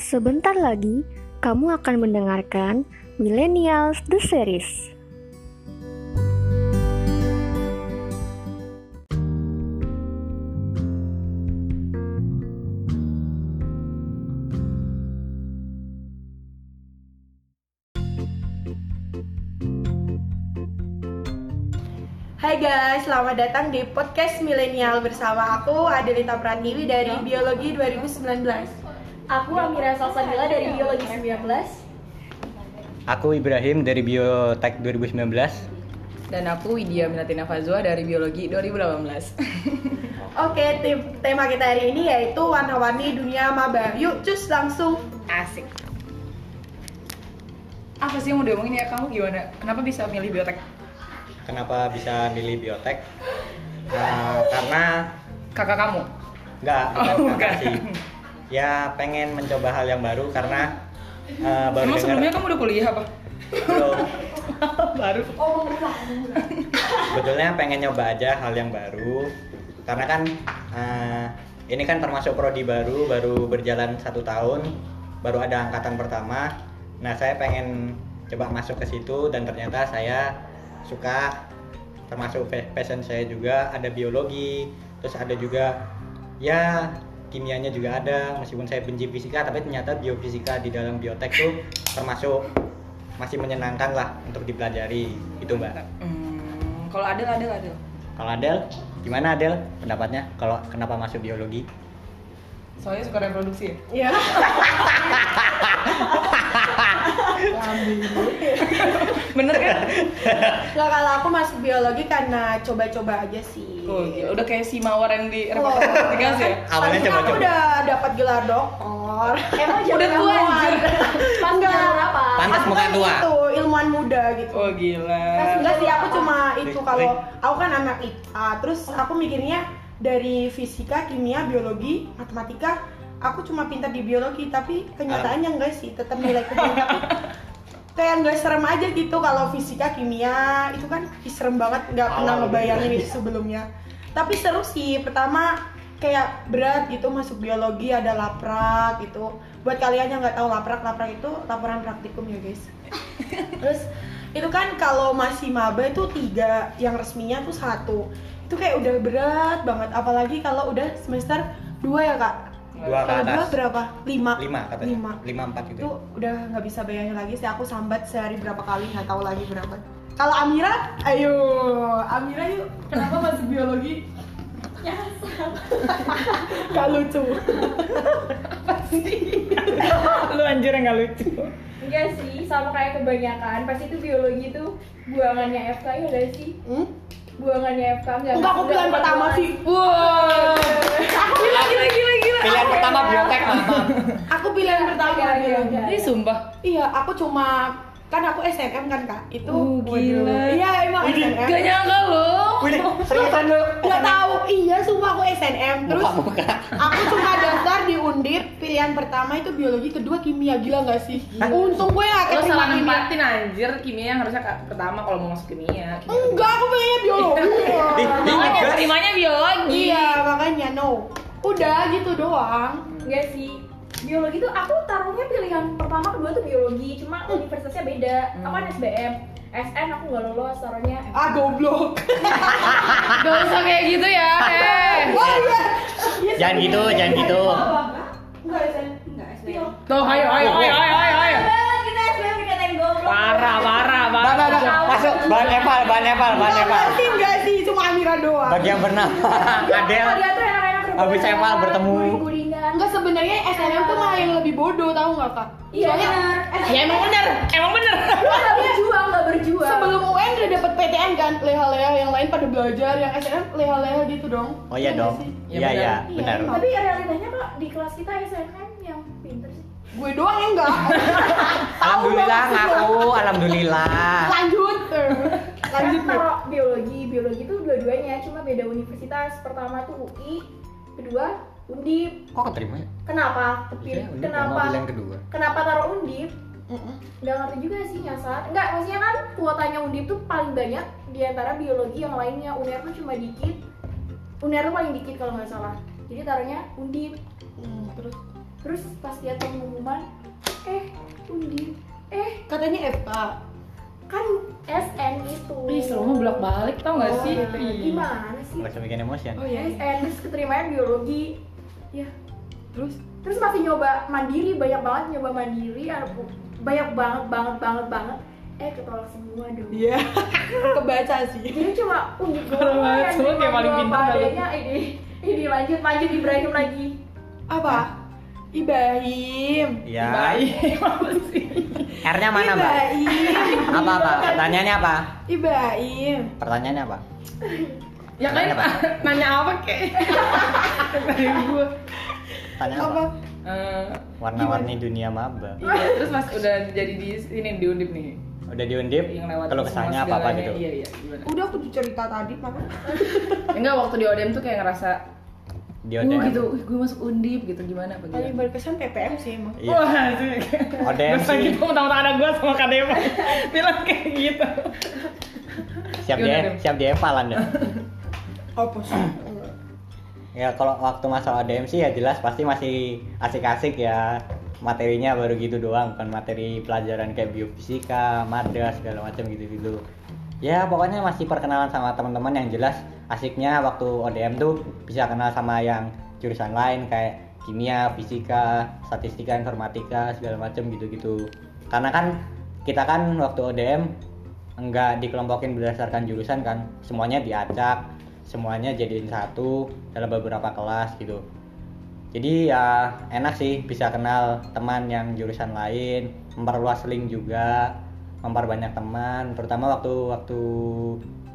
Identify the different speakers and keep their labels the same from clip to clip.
Speaker 1: Sebentar lagi, kamu akan mendengarkan Millennials The Series.
Speaker 2: Hai guys, selamat datang di podcast milenial bersama aku Adelita Pratiwi dari Biologi 2019.
Speaker 3: Aku Amira Salsabila dari Biologi 19.
Speaker 4: Aku Ibrahim dari Biotek 2019.
Speaker 5: Dan aku Widya Minatina Fazwa dari Biologi 2018.
Speaker 2: Oke, tim- tema kita hari ini yaitu warna-warni dunia maba. Yuk, cus langsung.
Speaker 5: Asik. Apa sih yang mau diomongin ya? Kamu gimana? Kenapa bisa milih biotek?
Speaker 4: Kenapa bisa milih biotek? Nah, karena
Speaker 5: Kakak kamu?
Speaker 4: nggak bukan
Speaker 5: Oh,
Speaker 4: karena
Speaker 5: bukan.
Speaker 4: sih. Ya pengen mencoba hal yang baru karena eh, baru
Speaker 5: Emang
Speaker 4: dengar-
Speaker 5: sebelumnya kamu udah kuliah apa?
Speaker 4: belum.
Speaker 5: Baru.
Speaker 4: Sebetulnya pengen nyoba aja hal yang baru karena kan eh, ini kan termasuk prodi baru, baru berjalan satu tahun, baru ada angkatan pertama. Nah saya pengen coba masuk ke situ dan ternyata saya suka termasuk fa- passion saya juga ada biologi, terus ada juga ya kimianya juga ada meskipun saya benci fisika tapi ternyata biofisika di dalam biotek tuh termasuk masih menyenangkan lah untuk dipelajari itu mbak.
Speaker 5: Hmm, kalau ada, ada, ada.
Speaker 4: Kalau Adel, gimana Adel pendapatnya kalau kenapa masuk biologi?
Speaker 5: Soalnya suka reproduksi ya?
Speaker 2: Ya.
Speaker 5: Bener kan?
Speaker 2: Nah, kalau aku masuk biologi karena coba-coba aja sih.
Speaker 5: Tuh, Oh, gila. udah kayak si mawar yang di
Speaker 2: Wah,
Speaker 5: reporter tiga sih ya?
Speaker 4: Oh, iya. Awalnya
Speaker 2: harusnya
Speaker 4: coba-coba.
Speaker 2: Aku udah dapat gelar doktor.
Speaker 3: Emang
Speaker 5: Udah
Speaker 3: jangan
Speaker 5: tua,
Speaker 3: ramuan.
Speaker 5: anjir.
Speaker 3: Pas
Speaker 2: Enggak.
Speaker 3: jalur apa?
Speaker 4: Pantas
Speaker 2: Aku
Speaker 4: muka
Speaker 2: kan
Speaker 4: tua.
Speaker 2: Itu ilmuwan muda gitu.
Speaker 5: Oh gila.
Speaker 2: Enggak sih, aku cuma itu
Speaker 4: Rik,
Speaker 2: kalau
Speaker 4: Rik.
Speaker 2: aku kan anak IPA, terus aku mikirnya dari fisika, kimia, biologi, matematika, aku cuma pintar di biologi, tapi kenyataannya enggak sih, tetap nilai tapi kayak nggak serem aja gitu kalau fisika, kimia itu kan ih, serem banget, nggak pernah
Speaker 4: Awal
Speaker 2: ngebayangin itu sebelumnya. Tapi seru sih, pertama kayak berat gitu masuk biologi ada laprak gitu. Buat kalian yang nggak tahu laprak, laprak itu laporan praktikum ya guys. Terus itu kan kalau masih maba itu tiga, yang resminya tuh satu. Itu kayak udah berat banget, apalagi kalau udah semester dua ya kak.
Speaker 4: Dua ke
Speaker 2: Kalau dua
Speaker 4: atas.
Speaker 2: berapa? Lima.
Speaker 4: Lima katanya.
Speaker 2: Lima.
Speaker 4: Lima empat gitu.
Speaker 2: Itu udah nggak bisa bayangin lagi sih aku sambat sehari berapa kali nggak tahu lagi berapa. Kalau Amira, ayo Amira yuk kenapa masuk biologi? Gak lucu.
Speaker 5: Lu anjir yang gak lucu.
Speaker 3: Enggak sih, sama kayak kebanyakan. Pasti itu biologi itu buangannya FK ya enggak sih?
Speaker 2: Hmm?
Speaker 3: Buangannya FK enggak?
Speaker 2: Enggak, aku pilihan pertama sih.
Speaker 5: Wow.
Speaker 3: Gila gila gila gila.
Speaker 4: Pilihan
Speaker 3: Aku
Speaker 4: pertama
Speaker 3: FK.
Speaker 4: biotek mama.
Speaker 2: Aku pilihan pertama
Speaker 3: Iya, iya,
Speaker 2: biologi.
Speaker 3: iya.
Speaker 5: Ini sumpah.
Speaker 2: Iya, aku cuma kan aku SNM kan kak itu
Speaker 4: Oh,
Speaker 5: Uh,
Speaker 2: waduh.
Speaker 5: gila.
Speaker 2: iya emang SNM
Speaker 5: Gak nyangka loh.
Speaker 4: Wih, seriusan lu.
Speaker 2: nggak tahu iya sumpah aku SNM terus
Speaker 4: Buka-buka.
Speaker 2: aku cuma daftar di undip pilihan pertama itu biologi kedua kimia gila nggak sih untung gue nggak
Speaker 5: Lo
Speaker 2: keterima
Speaker 5: salah
Speaker 2: kimia
Speaker 5: nempatin anjir kimia yang harusnya ka- pertama kalau mau masuk kimia. kimia.
Speaker 2: enggak aku pilihnya biologi
Speaker 4: Ih, ih,
Speaker 5: Makanya
Speaker 4: gas.
Speaker 5: Oh, terimanya biologi.
Speaker 2: iya makanya no udah gitu doang
Speaker 3: Enggak sih. Biologi tuh aku taruhnya pilihan pertama kedua tuh biologi, cuma universitasnya beda. Aku kan SBM. SN aku nggak lolos taruhnya.
Speaker 2: ah goblok
Speaker 5: Gak usah kayak gitu ya. Eh.
Speaker 2: wah iya
Speaker 4: Jangan gitu, jangan gitu.
Speaker 2: enggak SNM enggak SNM
Speaker 5: Tuh, ayo, ayo, ayo, ayo, ayo, ayo.
Speaker 3: Kita SBM dikatain goblok.
Speaker 5: Parah, parah,
Speaker 4: Mbak, mbak,
Speaker 5: parah.
Speaker 4: mbak, masuk. Bahan epal, bahan epal, bahan
Speaker 2: Enggak
Speaker 4: epal.
Speaker 2: ngerti enggak sih cuma Amira doang
Speaker 4: Bagi yang bernama Adel.
Speaker 3: Kalau dia tuh enak-enak
Speaker 4: Habis
Speaker 3: berbual,
Speaker 4: Eval bertemu.
Speaker 3: guring-guringan.
Speaker 2: Enggak sebenarnya SNM tuh malah yang lebih bodoh tahu nggak kak?
Speaker 3: Iya
Speaker 2: Soalnya
Speaker 3: benar. Iya,
Speaker 5: Ya emang bener, emang bener.
Speaker 3: Lu nggak berjuang, nggak berjuang.
Speaker 2: sebelum UN udah dapet PTN kan leha-leha yang lain pada belajar yang SNM leha-leha gitu dong.
Speaker 4: Oh iya
Speaker 2: nggak
Speaker 4: dong.
Speaker 2: sih?
Speaker 5: Iya,
Speaker 4: Iya, iya,
Speaker 2: benar.
Speaker 4: benar.
Speaker 2: Iya,
Speaker 3: Tapi realitanya kok di kelas kita SNM yang pinter sih.
Speaker 2: Gue doang yang enggak.
Speaker 4: Alhamdulillah ngaku, alhamdulillah.
Speaker 2: Lanjut. Lanjut.
Speaker 3: Kan kalau biologi, biologi tuh dua-duanya cuma beda universitas. Pertama tuh UI, kedua Undip.
Speaker 4: Kok keterima ya?
Speaker 3: Kenapa? Kepilih.
Speaker 4: Biasanya Iya, Undip sama pilihan
Speaker 3: Kenapa?
Speaker 4: kedua.
Speaker 3: Kenapa taruh Undip?
Speaker 2: Mm-mm.
Speaker 3: Nggak ngerti juga sih nyasar. Nggak, maksudnya kan kuotanya Undip tuh paling banyak di antara biologi yang lainnya. UNER tuh cuma dikit. UNER tuh paling dikit kalau nggak salah. Jadi taruhnya Undip.
Speaker 2: Hmm, Terus
Speaker 3: terus pas dia tahu pengumuman eh undin eh
Speaker 2: Katanya FK.
Speaker 3: kan SN itu
Speaker 5: Ih, seru bolak balik tau gak sih?
Speaker 2: Wah,
Speaker 5: Ih.
Speaker 3: gimana sih
Speaker 4: Nggak usah bikin emosian.
Speaker 2: Oh iya.
Speaker 3: SN terus keterimanya biologi ya
Speaker 5: Terus?
Speaker 3: terus masih nyoba mandiri banyak banget nyoba mandiri ada- banyak banget banget banget banget eh ketolak semua dong
Speaker 2: Iya. Kebaca sih.
Speaker 3: jadi cuma unjuk
Speaker 5: Parah banget,
Speaker 3: doang
Speaker 5: semua kayak maling bintang banget.
Speaker 3: adanya ini ini lanjut lanjut Ibrahim lagi
Speaker 2: Apa? Ibrahim.
Speaker 4: Iya.
Speaker 5: apa sih?
Speaker 4: R-nya mana, Mbak?
Speaker 2: Ibrahim.
Speaker 4: Apa, apa? Pertanyaannya apa?
Speaker 2: Ibrahim.
Speaker 4: Pertanyaannya apa?
Speaker 5: Ya kan
Speaker 4: Nanya apa?
Speaker 5: nanya apa kek? Nanya gue.
Speaker 4: Tanya apa?
Speaker 2: Apa?
Speaker 5: Eh,
Speaker 4: Warna-warni dunia maba.
Speaker 5: iya, terus mas udah jadi di ini di Undip nih.
Speaker 4: Udah diundip?
Speaker 5: Yang lewat
Speaker 4: Kalau kesannya apa-apa gitu?
Speaker 5: Iya iya gimana?
Speaker 2: Udah aku cerita tadi, Mama.
Speaker 5: Enggak waktu di ODM tuh kayak ngerasa
Speaker 4: Di Iya.
Speaker 5: gue
Speaker 4: ODM.
Speaker 5: gitu, gue masuk Undip gitu gimana apa
Speaker 2: Paling
Speaker 5: gimana?
Speaker 2: berkesan PPM sih emang.
Speaker 4: Iya. ODM
Speaker 5: Masa
Speaker 4: sih.
Speaker 5: gitu mentang-mentang anak gue sama Kak Deva Bilang kayak gitu
Speaker 4: Siap di
Speaker 5: Gimana, Dem?
Speaker 4: siap di epalan deh.
Speaker 2: Apa sih?
Speaker 4: Ya kalau waktu masa ODM sih ya jelas pasti masih asik-asik ya materinya baru gitu doang bukan materi pelajaran kayak biofisika, madras segala macam gitu-gitu. Ya pokoknya masih perkenalan sama teman-teman yang jelas asiknya waktu ODM tuh bisa kenal sama yang jurusan lain kayak kimia, fisika, statistika, informatika segala macam gitu-gitu. Karena kan kita kan waktu ODM nggak dikelompokin berdasarkan jurusan kan semuanya diacak semuanya jadiin satu dalam beberapa kelas gitu jadi ya enak sih bisa kenal teman yang jurusan lain memperluas link juga memperbanyak teman terutama waktu waktu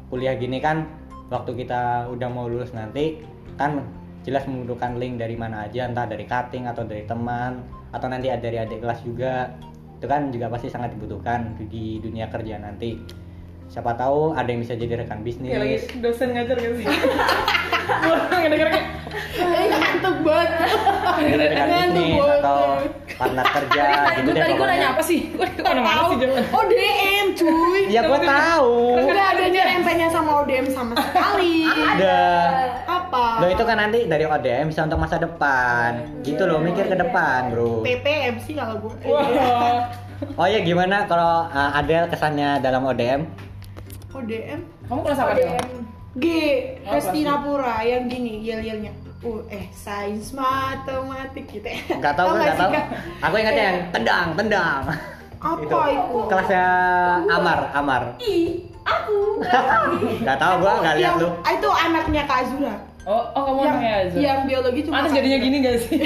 Speaker 4: kuliah gini kan waktu kita udah mau lulus nanti kan jelas membutuhkan link dari mana aja entah dari cutting atau dari teman atau nanti ada dari adik kelas juga itu kan juga pasti sangat dibutuhkan di dunia kerja nanti siapa tahu ada yang bisa jadi rekan bisnis
Speaker 5: Kayak Iya, lagi dosen ngajar gitu sih Gue ngedenger kayak
Speaker 2: Ngantuk banget.
Speaker 4: ada rekan
Speaker 2: Aduh,
Speaker 4: bisnis
Speaker 2: boleh.
Speaker 4: atau partner kerja gitu deh
Speaker 5: Gue tadi gue
Speaker 4: pokoknya.
Speaker 5: nanya apa sih? Gue mana mana sih jawaban
Speaker 2: Oh DM cuy.
Speaker 4: Ya gua tahu.
Speaker 2: Enggak ada nyerempetnya sama ODM sama sekali.
Speaker 4: Udah.
Speaker 2: Apa?
Speaker 4: Lo itu kan nanti dari ODM bisa untuk masa depan. Gitu loh, mikir ke depan, Bro.
Speaker 2: PPM sih kalau Iya. gue.
Speaker 5: Wah
Speaker 4: Oh ya gimana kalau uh, Adel kesannya dalam ODM?
Speaker 2: ODM.
Speaker 5: Kamu kelas apa dong?
Speaker 2: G.
Speaker 5: Oh,
Speaker 2: Kristina Pura yang gini yel-yelnya. Uh, eh sains matematik gitu.
Speaker 4: Enggak
Speaker 2: Tau
Speaker 4: tahu, gue enggak
Speaker 2: sih,
Speaker 4: tahu.
Speaker 2: Kak? Iya.
Speaker 4: Aku ingatnya yang tendang, tendang.
Speaker 2: Apa itu?
Speaker 4: Kelasnya Amar, Amar.
Speaker 3: Ih, aku lagi.
Speaker 4: Enggak tahu gua, enggak lihat
Speaker 2: Yang-
Speaker 4: lu.
Speaker 2: ah, Itu anaknya Kak Azura.
Speaker 5: Oh, oh kamu
Speaker 2: yang,
Speaker 5: anaknya Azul
Speaker 2: yang biologi cuma
Speaker 5: Anak
Speaker 2: Kak
Speaker 5: jadinya
Speaker 2: Azura.
Speaker 5: gini gak sih?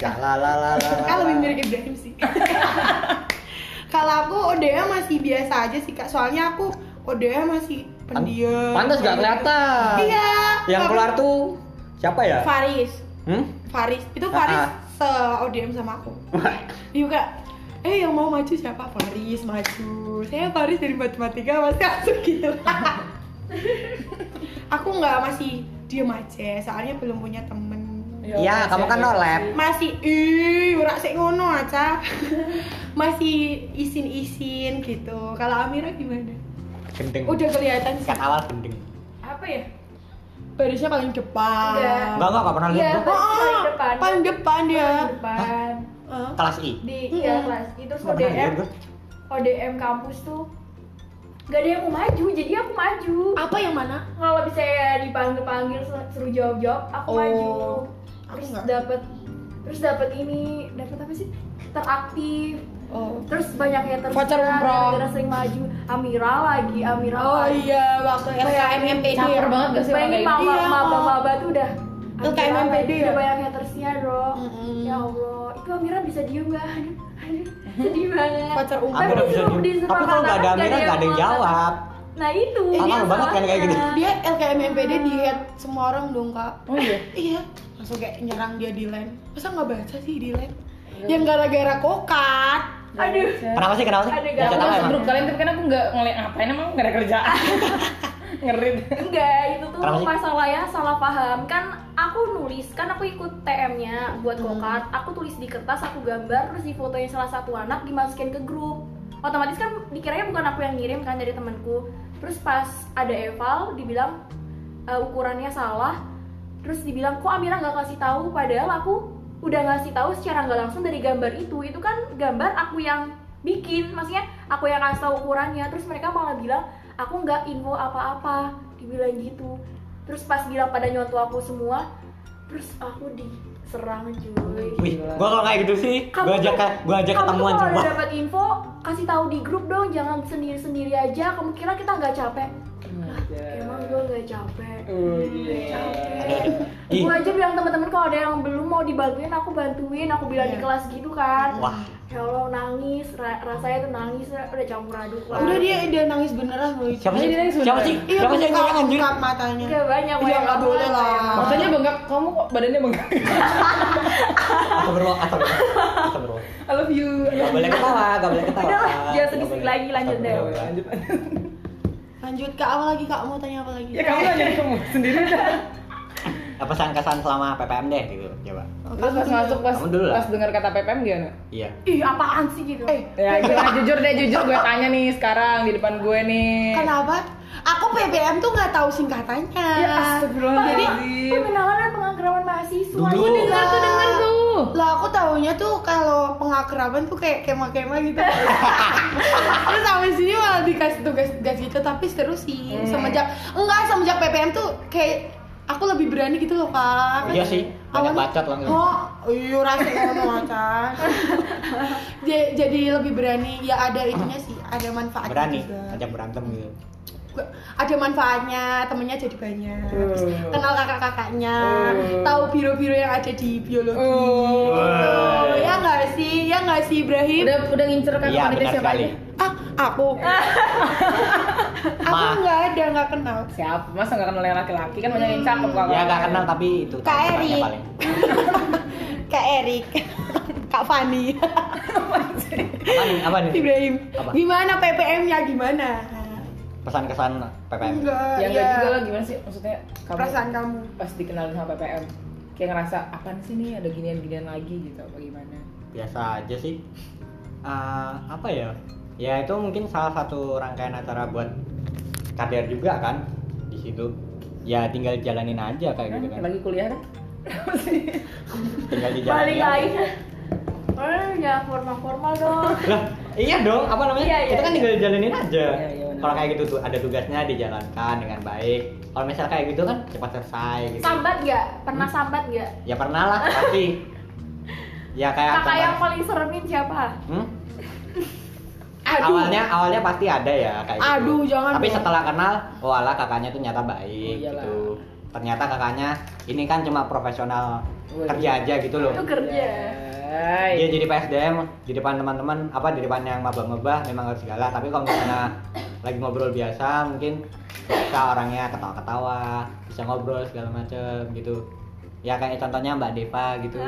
Speaker 4: Ya la la la la. la.
Speaker 2: Kan lebih mirip Ibrahim sih. Kalau aku ODM masih biasa aja sih Kak. Soalnya aku ODM masih
Speaker 4: Pan-
Speaker 2: pendiam.
Speaker 4: Pantas enggak kelihatan.
Speaker 2: Iya.
Speaker 4: Yang
Speaker 2: Tapi-
Speaker 4: keluar tuh siapa ya?
Speaker 2: Faris.
Speaker 4: Hmm?
Speaker 2: Faris. Itu Faris
Speaker 4: Ah, ah.
Speaker 2: se ODM sama aku. Juga eh yang mau maju siapa? Faris maju. Saya Faris dari matematika masih langsung gitu. aku nggak masih diem aja, soalnya belum punya temen.
Speaker 4: Iya,
Speaker 5: ya,
Speaker 4: kamu kan nolep.
Speaker 2: Masih ih ora sik ngono aja. masih isin-isin gitu. Kalau Amira gimana?
Speaker 4: Gendeng.
Speaker 2: Udah kelihatan sih.
Speaker 4: Kan awal gendeng.
Speaker 3: apa ya
Speaker 2: Barisnya paling depan.
Speaker 3: Enggak.
Speaker 4: Enggak enggak pernah
Speaker 3: Iya.
Speaker 4: lihat
Speaker 2: Oh,
Speaker 4: gua.
Speaker 3: Paling
Speaker 2: paling
Speaker 3: depan.
Speaker 2: depan. Paling depan dia.
Speaker 3: depan
Speaker 2: Heeh.
Speaker 4: Kelas I.
Speaker 3: di iya
Speaker 2: Mm-mm.
Speaker 3: kelas itu
Speaker 4: Nggak pernah lihat
Speaker 3: ODM
Speaker 4: gua.
Speaker 3: ODM kampus tuh gak ada yang mau maju jadi aku maju
Speaker 2: Apa yang mana?
Speaker 3: kalau bisa dipanggil panggil seru jawab jawab aku
Speaker 2: Oh,
Speaker 3: maju
Speaker 2: aku
Speaker 3: terus
Speaker 2: nggak.
Speaker 3: dapat terus dapat ini dapat apa sih teraktif
Speaker 2: Oh.
Speaker 3: terus banyak yang terus
Speaker 2: Voucher umroh.
Speaker 3: sering maju Amira lagi Amira
Speaker 2: Oh
Speaker 3: lagi
Speaker 2: iya, waktu LKMMPD
Speaker 5: Caper banget gak sih orang kayak
Speaker 3: Bayangin maba,
Speaker 2: Iya.
Speaker 3: maba, maba tuh udah
Speaker 2: Tuh kayak
Speaker 3: Amira
Speaker 2: MPD
Speaker 3: lagi,
Speaker 2: ya?
Speaker 3: Udah banyak hatersnya bro
Speaker 2: Mm-mm.
Speaker 3: Ya Allah, itu Amira bisa diem gak? Aduh, aduh, sedih banget
Speaker 2: Pacar umum.
Speaker 4: Aku
Speaker 3: Tapi
Speaker 4: udah bisa
Speaker 3: disuruh-
Speaker 4: diem.
Speaker 3: disuruh
Speaker 4: Tapi kalau nggak ada
Speaker 3: makan,
Speaker 4: Amira nggak ada yang
Speaker 3: makan.
Speaker 4: jawab.
Speaker 3: Nah itu
Speaker 4: Malu
Speaker 3: dia
Speaker 4: banget kan kayak
Speaker 3: salahnya.
Speaker 2: Dia LKMMPD di head semua orang dong, Kak.
Speaker 5: Oh iya.
Speaker 2: Iya, langsung kayak nyerang dia di line. Masa nggak baca sih di line?
Speaker 5: Iya.
Speaker 2: Yang gara-gara kokat.
Speaker 3: Aduh
Speaker 4: Kenapa sih? Kenapa sih?
Speaker 3: Ada
Speaker 4: Gak
Speaker 5: Aku
Speaker 4: tahu
Speaker 5: masuk
Speaker 4: emang.
Speaker 5: grup kalian tapi kan aku nggak ngeliat ngapain emang nggak ada kerjaan. Ngeri.
Speaker 3: Enggak, itu tuh
Speaker 4: Kenapa sih?
Speaker 3: masalahnya salah paham Kan aku nulis, kan aku ikut TM-nya buat kokat Aku tulis di kertas, aku gambar, terus difotoin salah satu anak dimasukin ke grup Otomatis kan dikiranya bukan aku yang ngirim kan dari temanku Terus pas ada eval, dibilang eh, ukurannya salah Terus dibilang, kok Amira nggak kasih tahu Padahal aku udah ngasih tahu secara nggak langsung dari gambar itu itu kan gambar aku yang bikin maksudnya aku yang kasih tahu ukurannya terus mereka malah bilang aku nggak info apa-apa dibilang gitu terus pas bilang pada nyontoh aku semua terus aku diserang cuy
Speaker 4: Wih, gua kalau kayak gitu sih,
Speaker 3: Kamu
Speaker 4: gua ajak
Speaker 3: tuh-
Speaker 4: gua ajak
Speaker 3: kamu
Speaker 4: ketemuan
Speaker 3: tuh kalau
Speaker 4: coba.
Speaker 3: udah dapat info kasih tahu di grup dong jangan sendiri sendiri aja kamu kira kita nggak capek emang gue nggak capek
Speaker 2: Iya.
Speaker 4: Ih.
Speaker 3: gue aja bilang teman-teman kalau ada yang belum mau dibantuin aku bantuin aku bilang di
Speaker 2: Iya.
Speaker 3: kelas gitu kan
Speaker 4: Wah,
Speaker 3: ya allah nangis ra- rasanya tuh nangis ra- udah campur aduk lah
Speaker 2: Udah dia dia nangis beneran loh.
Speaker 4: siapa sih?
Speaker 5: Jadi nangis
Speaker 4: Siapa
Speaker 5: beneran.
Speaker 4: sih?
Speaker 2: Iya,
Speaker 4: Siapa sih yang
Speaker 2: bengkak-
Speaker 4: nyerang anjir?
Speaker 2: bengkak matanya.
Speaker 3: Gak banyak
Speaker 2: Iya, nggak boleh lah.
Speaker 5: Maksudnya bengkak, kamu kok badannya bengkak?
Speaker 4: Atau berwak, atau berwak, atau berwak.
Speaker 5: I love you.
Speaker 4: Gak
Speaker 5: I love you.
Speaker 4: boleh ketawa, gak boleh ketawa.
Speaker 3: Iya. Udah lah, jangan
Speaker 4: Gak
Speaker 3: sedih-sedih
Speaker 4: boleh.
Speaker 3: lagi, lanjut deh.
Speaker 4: Astagfirullah.
Speaker 5: Lanjut.
Speaker 2: Lanjut Kak, apa lagi Kak? Mau tanya apa lagi?
Speaker 5: Ya kamu aja kamu sendiri udah.
Speaker 4: Apa kesan selama PPM deh gitu, coba.
Speaker 5: Terus pas masuk pas
Speaker 4: Kamu dulu lah.
Speaker 5: pas dengar kata PPM gimana?
Speaker 4: Iya.
Speaker 3: ih apaan sih gitu
Speaker 2: Eh,
Speaker 5: Ya gimana jujur deh jujur gue tanya nih sekarang di depan gue nih.
Speaker 2: kenapa? Aku PPM tuh nggak tahu singkatannya.
Speaker 5: Ya
Speaker 3: Jadi,
Speaker 5: astagfirullahaladzim.
Speaker 3: pengenalan dan penganggaran mahasiswa
Speaker 4: Dulu.
Speaker 5: Gue dengar tuh dengar tuh.
Speaker 2: Lah aku taunya tuh kalau pengakraban tuh kayak kema-kema gitu. terus sampai sini malah dikasih tugas-tugas gitu tapi seru sih.
Speaker 4: Hmm.
Speaker 2: Semenjak enggak semenjak PPM tuh kayak aku lebih berani gitu loh, Kak.
Speaker 4: Iya sih, banyak gitu.
Speaker 2: Awalnya-
Speaker 4: bacot langsung.
Speaker 2: Oh, iya rasanya ngomong macan. Ja- jadi lebih berani. Ya ada itunya sih, ada manfaatnya
Speaker 4: Berani,
Speaker 2: juga.
Speaker 4: ajak berantem gitu.
Speaker 2: Gua- ada manfaatnya temennya jadi banyak Terus
Speaker 4: Oh.
Speaker 5: Hmm.
Speaker 2: kenal kakak-kakaknya
Speaker 5: Hmm.
Speaker 2: tahu biro-biro yang ada di biologi
Speaker 5: Oh.
Speaker 2: Oh, ya nggak sih ya nggak sih Ibrahim
Speaker 5: Udah udah ngincer kan
Speaker 4: Iya,
Speaker 5: panitia
Speaker 4: benar
Speaker 5: siapa
Speaker 4: sekali.
Speaker 5: aja?
Speaker 2: ah aku aku
Speaker 4: Ma.
Speaker 2: nggak ada nggak kenal
Speaker 5: Siapa? Masa nggak kenal yang laki-laki kan banyak yang cakep kalau.
Speaker 4: Ya gak kenal tapi itu
Speaker 2: Kak
Speaker 4: teman-temannya
Speaker 2: Erik.
Speaker 4: paling.
Speaker 2: kak Erik kak Fani
Speaker 4: Apa nih? Apa nih?
Speaker 2: Ibrahim
Speaker 4: Apa? Ya.
Speaker 2: gimana PPM-nya gimana
Speaker 4: Pesan kesan PPM.
Speaker 2: enggak
Speaker 5: Ya enggak juga lah gimana sih maksudnya kamu
Speaker 2: perasaan kamu
Speaker 5: pas dikenalin sama PPM kayak ngerasa apaan sih nih ada ginian-ginian lagi gitu apa gimana?
Speaker 4: biasa aja sih Eh, apa ya ya itu mungkin salah satu rangkaian acara buat kader juga kan di situ ya tinggal jalanin aja kayak gitu kan
Speaker 5: Kan, lagi kuliah kan?
Speaker 4: tinggal
Speaker 2: Iya,
Speaker 4: dijalanin
Speaker 3: balik
Speaker 4: aja.
Speaker 3: lagi Eh, ya formal-formal dong
Speaker 4: lah iya dong apa namanya
Speaker 3: Iya, iya,
Speaker 4: kita kan
Speaker 3: iya.
Speaker 4: tinggal jalanin aja
Speaker 5: Iya, iya, benar.
Speaker 4: kalau kayak gitu tuh ada tugasnya dijalankan dengan baik kalau misalnya kayak gitu kan cepat selesai gitu
Speaker 3: sambat nggak pernah sambat nggak
Speaker 4: ya pernah lah pasti ya kayak
Speaker 3: kakak
Speaker 4: teman-
Speaker 3: yang paling seremin siapa
Speaker 4: Hmm?
Speaker 2: aduh
Speaker 4: awalnya awalnya pasti ada ya kayak gitu.
Speaker 2: Aduh, jangan
Speaker 4: tapi
Speaker 2: dong.
Speaker 4: setelah kenal oh ala kakaknya tuh nyata baik
Speaker 5: Oh, iyalah.
Speaker 4: gitu ternyata kakaknya ini kan cuma
Speaker 2: Oh, iya.
Speaker 4: profesional
Speaker 5: Waduh.
Speaker 4: kerja aja gitu loh
Speaker 3: itu kerja
Speaker 4: dia
Speaker 5: Iya.
Speaker 4: jadi PSDM di depan teman-teman apa di depan yang maba-maba memang harus galak tapi kalau misalnya lagi ngobrol biasa mungkin bisa orangnya ketawa-ketawa bisa ngobrol segala macem gitu ya kayak contohnya Mbak Deva gitu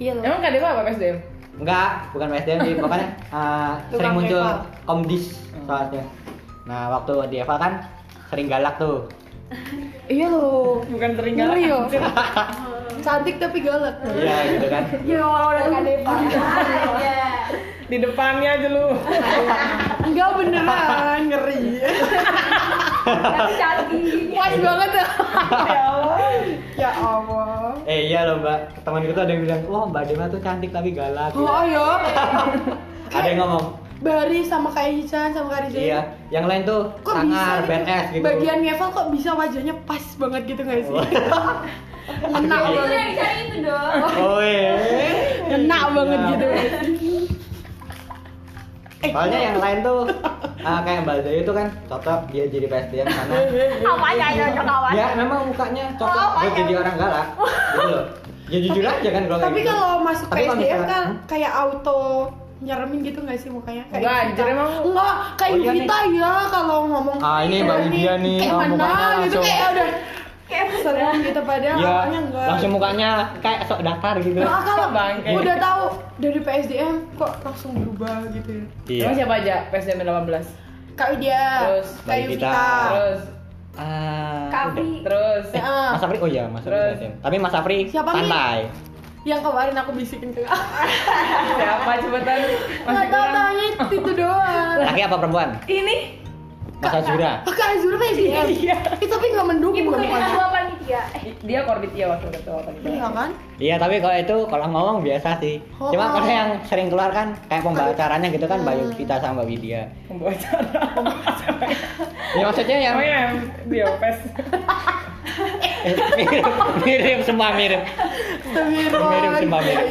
Speaker 2: iya loh
Speaker 5: Emang Kak Dewa apa PSDM?
Speaker 4: Enggak, bukan PSDM sih. Pokoknya eh, sering
Speaker 2: Tukang
Speaker 4: muncul
Speaker 2: Eva. Hmm.
Speaker 4: komdis soalnya. Nah, waktu di Eva kan sering galak tuh.
Speaker 2: iya loh
Speaker 5: Bukan teringgal.
Speaker 2: ngeri yo cantik tapi galak
Speaker 4: Iya, gitu kan.
Speaker 3: ya walau udah kade ya
Speaker 5: Di depannya aja lu.
Speaker 2: enggak beneran ngeri
Speaker 3: tapi cantik
Speaker 2: puas banget ya ya Allah
Speaker 4: Eh iya loh mbak, teman itu ada yang bilang, wah mbak Dema tuh cantik tapi galak.
Speaker 2: Oh ya,
Speaker 4: Ada yang ngomong,
Speaker 2: Bari sama Kak Ihsan sama Kak Riza.
Speaker 4: iya. Yang lain tuh
Speaker 2: Kok
Speaker 4: sangar,
Speaker 2: bisa
Speaker 4: badass
Speaker 2: gitu?
Speaker 4: gitu. Oh.
Speaker 2: Bagian Ngeval kok bisa wajahnya pas banget gitu gak sih?
Speaker 4: Wah.
Speaker 2: Ngena
Speaker 4: Iya.
Speaker 3: itu
Speaker 2: banget.
Speaker 3: yang dicari itu
Speaker 2: iya,
Speaker 3: dong
Speaker 4: Oh iya.
Speaker 2: Ngena banget gitu. Eh,
Speaker 4: Soalnya
Speaker 2: iya.
Speaker 4: yang lain tuh ah, kayak Mbak Dayu tuh kan cocok dia jadi PSDM karena
Speaker 3: apa aja yang cocok kawan
Speaker 4: ya memang mukanya cocok
Speaker 3: Oh,
Speaker 4: buat jadi orang galak gitu loh. Ya jujur aja kan kalau kayak
Speaker 2: Tapi
Speaker 4: gitu.
Speaker 2: kalau masuk
Speaker 4: Tapi kalau
Speaker 2: PSDM
Speaker 4: misalnya-
Speaker 2: kan kayak auto nyeremin gitu gak sih mukanya? Kayak
Speaker 5: Enggak,
Speaker 2: Yuvita.
Speaker 5: anjir, emang.
Speaker 2: Enggak, kayak
Speaker 4: Oh, iya
Speaker 2: Yuvita ya kalau ngomong
Speaker 4: Ah, ini Mbak
Speaker 2: kayak
Speaker 4: Widya nih,
Speaker 2: Kayak
Speaker 4: ah,
Speaker 2: mana
Speaker 4: mukanya
Speaker 2: gitu,
Speaker 4: langsung-
Speaker 2: kayak udah
Speaker 3: kayak
Speaker 2: serem gitu padahal
Speaker 4: Iya,
Speaker 2: awalnya enggak
Speaker 4: langsung mukanya kayak sok datar gitu.
Speaker 2: Nah, kalau
Speaker 5: Bangke.
Speaker 2: udah tahu dari PSDM kok langsung berubah gitu ya.
Speaker 4: Iya.
Speaker 5: Emang siapa aja PSDM 18?
Speaker 2: Kak Widya, Kak
Speaker 5: Terus,
Speaker 2: Eh,
Speaker 4: Mbak Yuvita.
Speaker 2: Yuvita.
Speaker 5: Terus,
Speaker 4: Ah, udah.
Speaker 3: kavi
Speaker 5: terus.
Speaker 4: Eh, Mas Afri, oh iya Mas Afri.
Speaker 5: Terus.
Speaker 4: PSDM. Tapi Mas Afri
Speaker 2: Siapa nih?
Speaker 4: santai.
Speaker 2: Yang kemarin aku bisikin ke Kak.
Speaker 5: Siapa cepetan? Masih
Speaker 2: Enggak tahu
Speaker 5: kurang.
Speaker 2: tanya itu doang.
Speaker 4: Laki apa perempuan?
Speaker 3: ini
Speaker 4: Mas Azura.
Speaker 2: Oh, Kak Azura PSDM. Iya. Tapi enggak mendukung
Speaker 3: ibu
Speaker 2: bukan
Speaker 3: ketua panitia Iya, eh
Speaker 5: Dia korbit ya waktu ketua waktu itu.
Speaker 2: Iya kan?
Speaker 4: Iya tapi kalau itu kalau ngomong biasa sih.
Speaker 2: Oh,
Speaker 4: Cuma kalau
Speaker 2: oh.
Speaker 4: yang sering keluar kan kayak pembawa acaranya gitu kan Bayu kita sama Mbak Widya.
Speaker 5: Pembawa acara.
Speaker 4: Ya maksudnya yang
Speaker 5: Namanya yang dia pes.
Speaker 4: mirip, mirip semua mirip. Mirip semua mirip.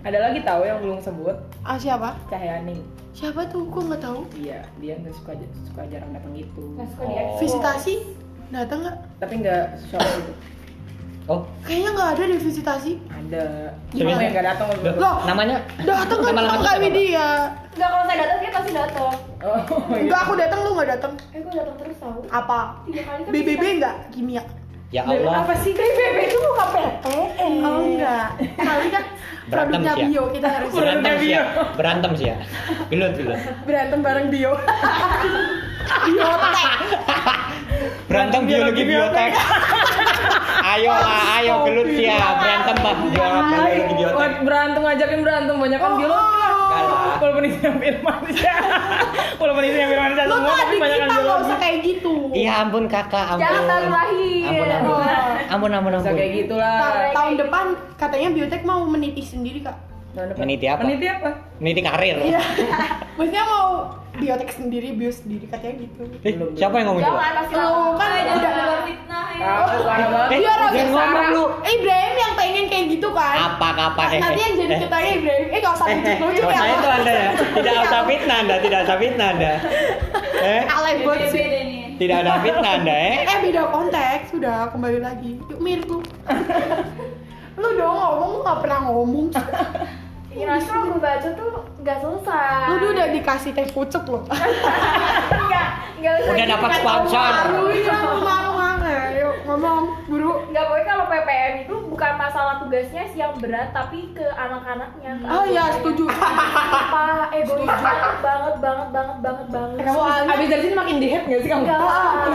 Speaker 5: Ada lagi tahu yang belum sebut?
Speaker 2: Ah siapa?
Speaker 5: Cahyani.
Speaker 2: Siapa tuh? Gue nggak tahu.
Speaker 5: Iya, dia nggak suka suka jarang datang gitu.
Speaker 3: nggak suka dia.
Speaker 4: Oh.
Speaker 2: Visitasi? Datang nggak?
Speaker 5: Tapi nggak shock gitu.
Speaker 4: Oh,
Speaker 2: Kayaknya nggak ada deh visitasi.
Speaker 5: Ada.
Speaker 4: Gimana?
Speaker 5: Gimana yang nggak datang waktu itu?
Speaker 2: Loh,
Speaker 4: namanya
Speaker 2: datang kan sama
Speaker 4: Nama lengkapnya
Speaker 2: kayak
Speaker 4: siapa?
Speaker 2: Widya.
Speaker 3: Enggak kalau saya datang dia pasti datang.
Speaker 5: Oh, iya.
Speaker 2: Enggak, aku datang lu nggak datang.
Speaker 3: Eh gua datang terus tahu.
Speaker 2: Apa?
Speaker 3: Tiga kali kan.
Speaker 2: BBB nggak? Kimia?
Speaker 4: ya Allah.
Speaker 5: Apa sih BBB itu bukan PTN?
Speaker 2: Oh enggak. Kali kan
Speaker 4: Berantem
Speaker 2: produknya
Speaker 4: sih ya.
Speaker 2: bio kita harus
Speaker 4: Berantem sih ya.
Speaker 5: Berantem
Speaker 4: Berantem sih ya. Gelut gelut.
Speaker 2: berantem bareng bio. Biotek.
Speaker 4: Berantem biologi biotek. ayo lah, ayo gelut sih ya. Berantem bab biologi biotek.
Speaker 5: berantem ngajakin berantem banyak kan biologi lah.
Speaker 4: Enggak lah.
Speaker 5: Walaupun isinya Firmansyah Walaupun isinya Firmansyah
Speaker 2: Lu tuh
Speaker 5: semua tapi
Speaker 2: adik
Speaker 5: banyak
Speaker 2: kita
Speaker 5: kan
Speaker 2: nggak
Speaker 5: biologi
Speaker 2: usah kayak gitu.
Speaker 4: Iya ampun kakak, ampun.
Speaker 3: Jangan baru lahir.
Speaker 4: Ampun ampun. Ampun ampun
Speaker 5: Bisa
Speaker 4: ampun.
Speaker 5: kayak gitulah
Speaker 2: Ta- tahun depan katanya biotek mau meniti sendiri kak.
Speaker 5: Tahun depan.
Speaker 4: Meniti apa?
Speaker 5: Meniti apa?
Speaker 4: Niti karir.
Speaker 2: Iya. Maksudnya mau biotek sendiri, bio sendiri katanya gitu.
Speaker 4: Eh, siapa yang ngomong coba?
Speaker 3: Jangan pasti
Speaker 2: Lu
Speaker 3: datang.
Speaker 2: kan
Speaker 3: Eh, jangan
Speaker 2: udah-
Speaker 3: keluar fitnah ya.
Speaker 5: Tahu suara
Speaker 2: Oh,
Speaker 4: Eh,
Speaker 5: banget
Speaker 2: Dia Rabi
Speaker 4: jangan ngomong
Speaker 2: Sarah.
Speaker 4: lu.
Speaker 2: Eh, Ibrahim yang pengen kayak gitu kan.
Speaker 4: Apa apa eh.
Speaker 2: Nanti yang jadi
Speaker 4: eh,
Speaker 2: ketanya Ibrahim. Eh, kalau usah
Speaker 4: Eh, eh,
Speaker 2: lucu-lucu
Speaker 4: dosa
Speaker 2: ya.
Speaker 4: itu anda ya. Tidak ada fitnah anda, tidak ada fitnah anda. Eh,
Speaker 2: Alay banget sih.
Speaker 3: Beda nih.
Speaker 4: tidak ada fitnah anda eh.
Speaker 2: Eh, beda konteks. Sudah kembali lagi. Yuk, Mir, lu. lu dong ngomong, lu gak pernah ngomong.
Speaker 3: Kira kalau gue baca tuh nggak selesai.
Speaker 2: Lu udah dikasih teh pucuk loh.
Speaker 3: Enggak, enggak usah.
Speaker 4: Udah dapat sponsor.
Speaker 2: Baru iya, lu mau mana? Eh, Yuk, ngomong, buru.
Speaker 3: Enggak pokoknya kalau PPM itu bukan masalah tugasnya sih yang berat tapi ke anak-anaknya. ke
Speaker 2: Oh iya,
Speaker 3: anggotanya.
Speaker 2: setuju.
Speaker 3: Apa egois banget banget banget banget banget banget.
Speaker 2: Soalnya-
Speaker 5: Abis dari sini makin dihead gak sih kamu?
Speaker 3: Enggak.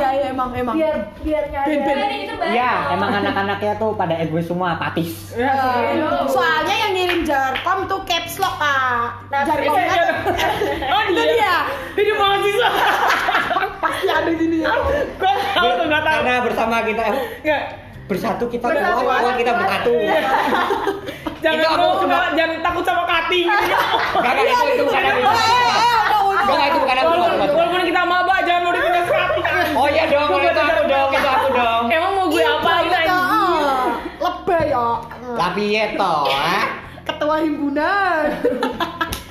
Speaker 2: Iya, iya, emang, emang.
Speaker 3: Biar biar nyadar.
Speaker 2: Ben, ben.
Speaker 3: Kan itu baik.
Speaker 4: Iya, emang anak-anaknya tuh pada egois semua, patis.
Speaker 5: Ya,
Speaker 2: Eh, Soalnya yang ngirim jarkom tuh caps lock, Kak.
Speaker 3: Nah,
Speaker 2: Jarkom iya.
Speaker 5: iya,
Speaker 2: kan
Speaker 5: Oh
Speaker 2: itu dia.
Speaker 5: Hidup mahasiswa
Speaker 2: Pasti ada gini ya.
Speaker 5: Gue tau tuh gak tau
Speaker 4: Karena bersama kita eh,
Speaker 5: Nggak.
Speaker 4: bersatu kita
Speaker 2: Bersatu,
Speaker 4: kuat, kuat kita bersatu.
Speaker 5: Jangan
Speaker 4: Itu aku
Speaker 5: mau,
Speaker 4: cuma-
Speaker 5: nggak- jangan takut sama Kati
Speaker 4: Gak ada itu, itu bukan yang
Speaker 2: Eh, eh, udah, udah.
Speaker 4: Gak itu bukan yang
Speaker 5: Walaupun,
Speaker 4: keluar.
Speaker 5: walaupun kita maba jangan mau ditindas Kati
Speaker 4: Oh iya dong, kalau itu aku dong, itu aku dong.
Speaker 5: Emang mau gue
Speaker 2: Iya,
Speaker 5: apain
Speaker 2: banget,
Speaker 5: anjing?
Speaker 2: ah. Lebay ya.
Speaker 4: Tapi ya toh, ah.
Speaker 2: Ketua himpunan.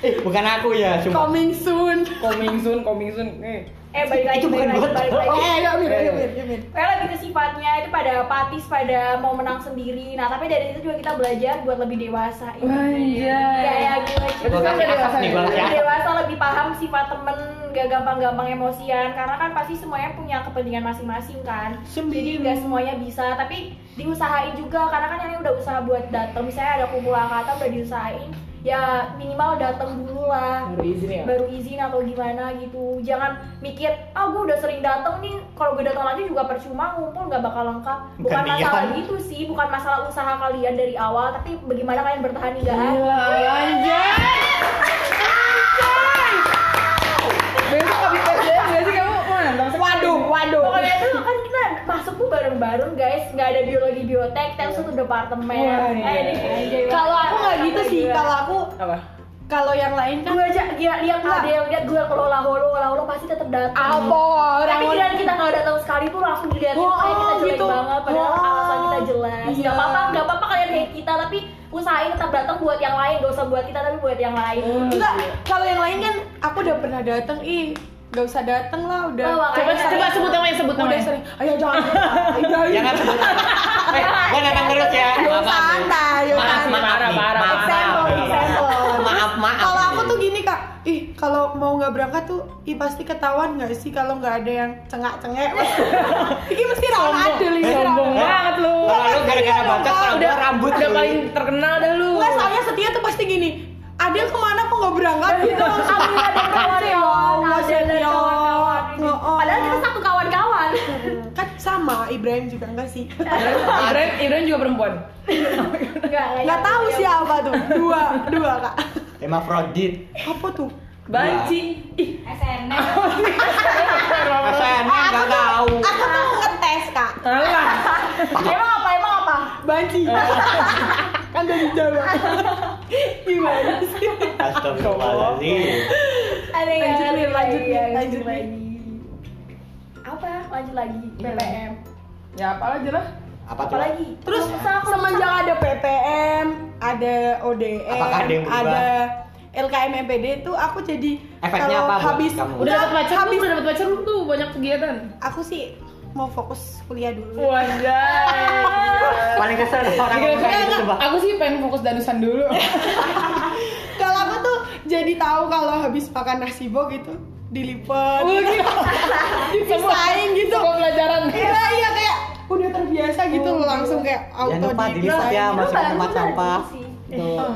Speaker 4: Eh, bukan aku ya, cuma.
Speaker 2: Coming soon.
Speaker 5: Coming soon, coming soon Eh,
Speaker 3: Eh balik lagi,
Speaker 4: Itu bukan
Speaker 3: balik lagi,
Speaker 4: buat.
Speaker 3: balik lagi.
Speaker 2: Oh, eh, yuk, Mir, yuk, Mir, yuk, Mir.
Speaker 3: Kayak lebih ke sifatnya itu pada apatis, pada mau menang sendiri. Nah, tapi dari situ juga kita belajar buat lebih dewasa. Iya,
Speaker 5: Anjay.
Speaker 3: Iya, ya, gila. cuy.
Speaker 4: Gua kasih asap nih, gua kasih
Speaker 3: Lebih
Speaker 4: asap.
Speaker 3: dewasa lebih paham sifat temen, gak gampang-gampang emosian. Karena kan pasti semuanya punya kepentingan masing-masing kan.
Speaker 2: Iya.
Speaker 3: Jadi nggak semuanya bisa, tapi diusahain juga. Karena kan yang udah usaha buat datang. Misalnya ada kumpul angkatan udah diusahain, ya minimal datang dulu lah
Speaker 5: Baru izin ya?
Speaker 3: baru izin atau gimana gitu jangan mikir ah gue udah sering dateng nih kalau gue datang lagi juga percuma ngumpul nggak bakal lengkap bukan
Speaker 4: Bukan
Speaker 3: masalah
Speaker 4: niat.
Speaker 3: gitu sih bukan masalah usaha kalian dari awal tapi bagaimana kalian bertahan hingga akhir
Speaker 5: Gila, anjay Besok habis
Speaker 2: iya,
Speaker 5: PJM gak sih kamu? Mantap sekali.
Speaker 2: Waduh, waduh.
Speaker 3: pokoknya tuh kan kita masuk tuh bareng-bareng guys nggak ada biologi biotek terus satu departemen
Speaker 5: Wah, iya.
Speaker 3: Eh, ini- ini-
Speaker 2: Kalau aku nggak gitu sih.
Speaker 3: Gila.
Speaker 2: Kalau aku,
Speaker 5: Apa?
Speaker 2: kalau yang lain kan.
Speaker 3: gue aja gila lihat
Speaker 2: Nggak.
Speaker 3: ada yang lihat gue kalau holo holo holo pasti tetap datang
Speaker 2: Ah, Apa orang
Speaker 3: tapi giliran kita nggak datang sekali tuh langsung dilihatin
Speaker 2: Oh,
Speaker 3: kayak kita jelek
Speaker 2: gitu.
Speaker 3: banget padahal
Speaker 2: Oh.
Speaker 3: alasan kita jelas
Speaker 2: Iya.
Speaker 3: nggak apa-apa nggak apa-apa kalian hate kita tapi usahain tetap datang buat yang lain gak usah buat kita tapi buat yang lain Gitu.
Speaker 2: Enggak, kalau yang lain kan aku udah pernah dateng, ih gak usah dateng lah udah.
Speaker 3: Oh, makanya.
Speaker 2: Udah
Speaker 5: Coba
Speaker 2: sering.
Speaker 5: sebut namanya, sebut
Speaker 2: Udah
Speaker 5: namanya.
Speaker 2: sering. Ayo jangan. Jangan.
Speaker 4: Jangan Ya kan, sebut. Eh, gua datang terus ya.
Speaker 2: Ayo
Speaker 4: Maaf, maaf.
Speaker 2: santai, ayo
Speaker 4: Maaf,
Speaker 2: santai.
Speaker 4: maaf, nih.
Speaker 5: Parah,
Speaker 4: maaf,
Speaker 5: parah.
Speaker 4: maaf.
Speaker 2: Sampel, sampel.
Speaker 4: Maaf,
Speaker 3: Nah,
Speaker 4: maaf.
Speaker 2: Nah, Kalau aku tuh gini kak, ih kalau mau nggak berangkat tuh, ih pasti ketahuan nggak sih kalau nggak ada yang cengak-cengek. Ini mesti rawan adil ini.
Speaker 5: Eh, Sombong banget lu
Speaker 4: Kalau lu gara-gara
Speaker 2: Iya,
Speaker 4: bacot, kalau gua rambut
Speaker 5: Udah
Speaker 4: lu.
Speaker 5: paling terkenal dah lu
Speaker 2: Nggak soalnya setia tuh pasti gini. Adil kemana kok nggak berangkat gitu?
Speaker 3: Alhamdulillah ada
Speaker 2: Ya
Speaker 3: Iya.
Speaker 2: Allah,
Speaker 3: kawan-kawan, ada dan
Speaker 2: setia.
Speaker 3: kawan-kawan.
Speaker 2: Nge-oh.
Speaker 3: Padahal kita satu kawan-kawan.
Speaker 2: Oh, kan sama Ibrahim juga enggak sih?
Speaker 3: Iya,
Speaker 5: Ibrahim, Ibrahim juga perempuan
Speaker 3: Enggak, iya.
Speaker 2: Nggak tahu siapa tuh. Dua, dua kak. Iya,
Speaker 4: Emang fraudit.
Speaker 2: Apa tuh?
Speaker 5: Banci. Ih,
Speaker 3: SNM
Speaker 4: SNM nggak tahu.
Speaker 2: Ah, Aku tuh ngetes kak.
Speaker 5: alah.
Speaker 3: emang apa emang apa
Speaker 2: Banci.
Speaker 3: Iya.
Speaker 2: kan dari Jawa. Gimana sih?
Speaker 4: Astagfirullahaladzim.
Speaker 3: ada yang
Speaker 2: Lanjut nih, lanjut
Speaker 3: lebih
Speaker 2: nih,
Speaker 3: lagi, ada ya. yang
Speaker 2: lanjut
Speaker 3: lebih
Speaker 2: nih.
Speaker 3: lagi. apa lanjut lagi BPM
Speaker 5: Ya apa aja lah.
Speaker 4: Apa tuh?
Speaker 3: apalagi
Speaker 2: Terus
Speaker 4: Iya.
Speaker 2: semenjak ada PPM, ada ODM,
Speaker 4: Apakah ada yang berubah?
Speaker 2: ada LKM MPD itu aku jadi kalau
Speaker 4: Efeknya apa buat
Speaker 2: habis
Speaker 4: kamu?
Speaker 5: Udah dapat pacar belum?
Speaker 2: habis
Speaker 5: Udah dapat pacar belum tuh? Banyak kegiatan.
Speaker 2: aku sih mau fokus kuliah dulu.
Speaker 5: Wajah.
Speaker 4: Paling kesel
Speaker 2: Iya,
Speaker 4: orang ngomong kayak gitu coba.
Speaker 5: Aku sih pengen fokus danusan dulu.
Speaker 2: Kalau aku tuh jadi tahu kalau habis makan nasi bo gitu dilipat, dipisahin gitu.
Speaker 5: Semua pelajaran.
Speaker 2: Iya iya kayak udah terbiasa gitu loh langsung kayak Nah. auto
Speaker 4: Jangan lupa dilipat ya,
Speaker 2: dipisahin.
Speaker 4: masuk ke
Speaker 3: Baru
Speaker 4: tempat
Speaker 3: baru
Speaker 4: sampah.
Speaker 3: sih.
Speaker 4: Tuh.
Speaker 2: Eh,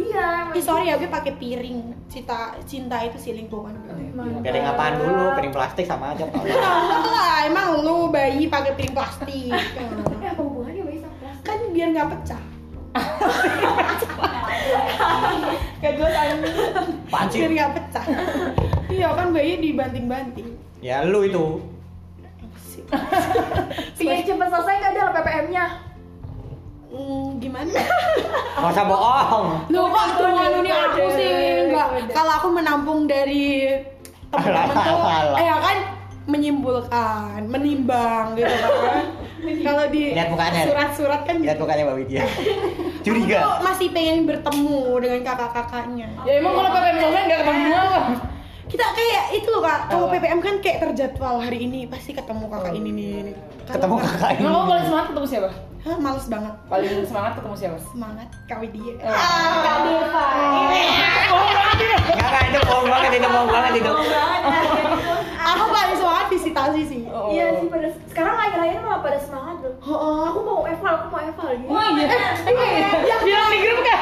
Speaker 3: iya
Speaker 2: Ih, sorry ya, gue pakai piring. Cinta cinta itu sih lingkungan.
Speaker 4: Piring apaan dulu? Piring plastik sama aja. Pak.
Speaker 2: Tahu lah, emang lu bayi pakai piring plastik.
Speaker 3: tapi Eh, apa hubungannya bayi sama kelas
Speaker 2: kan biar nggak pecah. Gak jelas anjing.
Speaker 4: Pancing.
Speaker 2: Biar nggak pecah. Iya kan bayi dibanting-banting.
Speaker 4: Ya lu itu.
Speaker 2: Iya,
Speaker 3: pengen cepet selesai nggak ada PPM nya
Speaker 2: Hmm, gimana?
Speaker 4: Gak usah bohong.
Speaker 2: Lu kok cuma ini aku sih nggak.
Speaker 3: Udah.
Speaker 2: Kalau aku menampung dari teman-teman tuh,
Speaker 4: Alah, alah.
Speaker 2: eh ya kan menyimpulkan, menimbang gitu kan. Kalau di
Speaker 4: Lihat mukanya.
Speaker 2: surat-surat kan
Speaker 4: Lihat mukanya Mbak Widya. Curiga.
Speaker 2: Aku tuh masih pengen bertemu dengan kakak-kakaknya.
Speaker 5: Ya emang kalau pakai misalnya nggak
Speaker 2: Eh.
Speaker 5: ketemu apa?
Speaker 2: Kita kayak itu loh kak, kalau PPM kan kayak terjadwal hari ini pasti ketemu kakak
Speaker 5: Oh,
Speaker 2: ini nih. ini. Kalau
Speaker 4: Ketemu
Speaker 2: nggak-
Speaker 4: kakak ini.
Speaker 5: Emang kamu paling semangat ketemu siapa?
Speaker 2: Hah, males banget.
Speaker 5: Paling semangat ketemu siapa?
Speaker 2: Semangat kak dia.
Speaker 5: Eh.
Speaker 2: kak Deva.
Speaker 4: Enggak, itu bohong banget, itu bohong banget itu.
Speaker 3: Oh,
Speaker 2: Aku paling semangat visitasi sih.
Speaker 5: Oh.
Speaker 3: iya sih pada sekarang akhir-akhir malah pada semangat loh
Speaker 2: Oh,
Speaker 3: aku mau eval aku mau eval gitu
Speaker 5: Wah
Speaker 2: Eh,
Speaker 5: iya. Iya. Bilang di grup kan?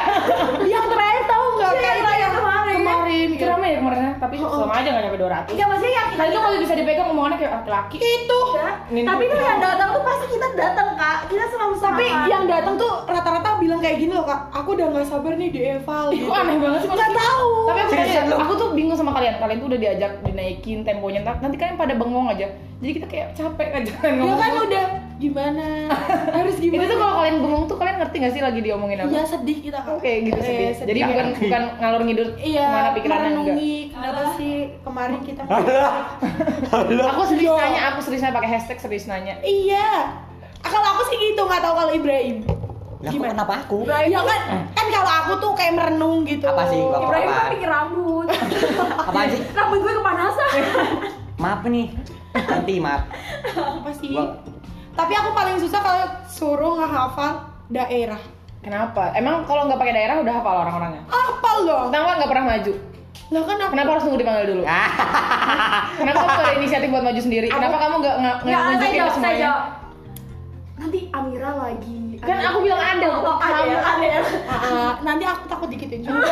Speaker 2: yang terakhir tahu nggak
Speaker 3: Iya,
Speaker 2: kak
Speaker 3: yang
Speaker 2: itu
Speaker 3: terakhir
Speaker 2: yang
Speaker 3: kemarin.
Speaker 2: kemarin
Speaker 5: Mikir ramai ya kemarin, tapi
Speaker 2: Oh.
Speaker 5: sama aja nggak nyampe 200
Speaker 3: Enggak maksudnya yang kita
Speaker 5: Kali itu
Speaker 2: gitu.
Speaker 5: kalau bisa dipegang omongannya kayak laki-laki
Speaker 2: itu.
Speaker 3: Enggak.
Speaker 5: Ini-
Speaker 3: Tapi kan yang datang tuh pasti kita datang kak. Kita selalu
Speaker 2: Tapi
Speaker 3: semangat.
Speaker 2: yang datang tuh rata-rata bilang kayak gini loh kak, aku udah nggak sabar nih di eval.
Speaker 5: Ih,
Speaker 2: gitu.
Speaker 5: kok aneh banget sih
Speaker 2: Nggak tahu.
Speaker 5: Tapi aku,
Speaker 4: Seriusan
Speaker 5: tanya,
Speaker 4: lu?
Speaker 5: aku tuh bingung sama kalian. Kalian tuh udah diajak dinaikin temponya. Ntar- Nanti kalian pada bengong aja. Jadi kita kayak capek aja kan
Speaker 2: Ya
Speaker 5: ngomong.
Speaker 2: kan udah gimana? Harus
Speaker 5: Itu
Speaker 2: gimana?
Speaker 5: tuh kalau kalian bengong tuh kalian ngerti gak sih lagi diomongin apa?
Speaker 2: Iya sedih kita kak.
Speaker 5: Oke gitu
Speaker 2: Eh,
Speaker 5: sedih. Jadi
Speaker 4: Nggak
Speaker 5: bukan
Speaker 4: ngerti.
Speaker 5: bukan ngalur ngidur
Speaker 2: Iya,
Speaker 5: mana pikirannya enggak.
Speaker 2: merenungi kenapa sih kemarin kita
Speaker 4: Alah. Alah.
Speaker 5: Aku serius nanya, aku serius nanya pakai hashtag serius nanya.
Speaker 2: Iya. Ah, Kalau aku sih gitu, nggak tahu kalau Ibrahim.
Speaker 4: Lah, kok kenapa aku?
Speaker 5: Nah,
Speaker 2: Ya kan, kan kalau aku tuh kayak merenung gitu.
Speaker 4: Apa sih, Bapak?
Speaker 3: Ibrahim
Speaker 4: Apaan?
Speaker 3: kan pikir rambut.
Speaker 4: Apaan sih?
Speaker 3: rambut gue kepanasan.
Speaker 4: Maaf nih. Nanti maaf.
Speaker 2: Apa sih?
Speaker 4: Gua-
Speaker 2: Tapi aku paling susah kalau suruh ngehafal daerah.
Speaker 5: Kenapa? Emang kalau nggak pakai daerah udah hafal orang-orangnya?
Speaker 2: Hafal dong.
Speaker 5: Kenapa nggak pernah maju?
Speaker 2: Lah kan aku
Speaker 5: Kenapa harus nunggu dipanggil dulu? Kenapa kamu nggak ada inisiatif buat maju sendiri? Kenapa kamu nggak nggak
Speaker 3: Enggak,
Speaker 5: nggak
Speaker 3: Ya, saya
Speaker 5: nunjukin
Speaker 3: jawab,
Speaker 5: ke
Speaker 3: saya
Speaker 5: semuanya?
Speaker 3: jawab. Nanti Amira lagi.
Speaker 5: Kan aku bilang ada,
Speaker 3: Oh, oh, ada, ya, ada. ya.
Speaker 2: Ah, ah, nanti aku takut dikitin juga.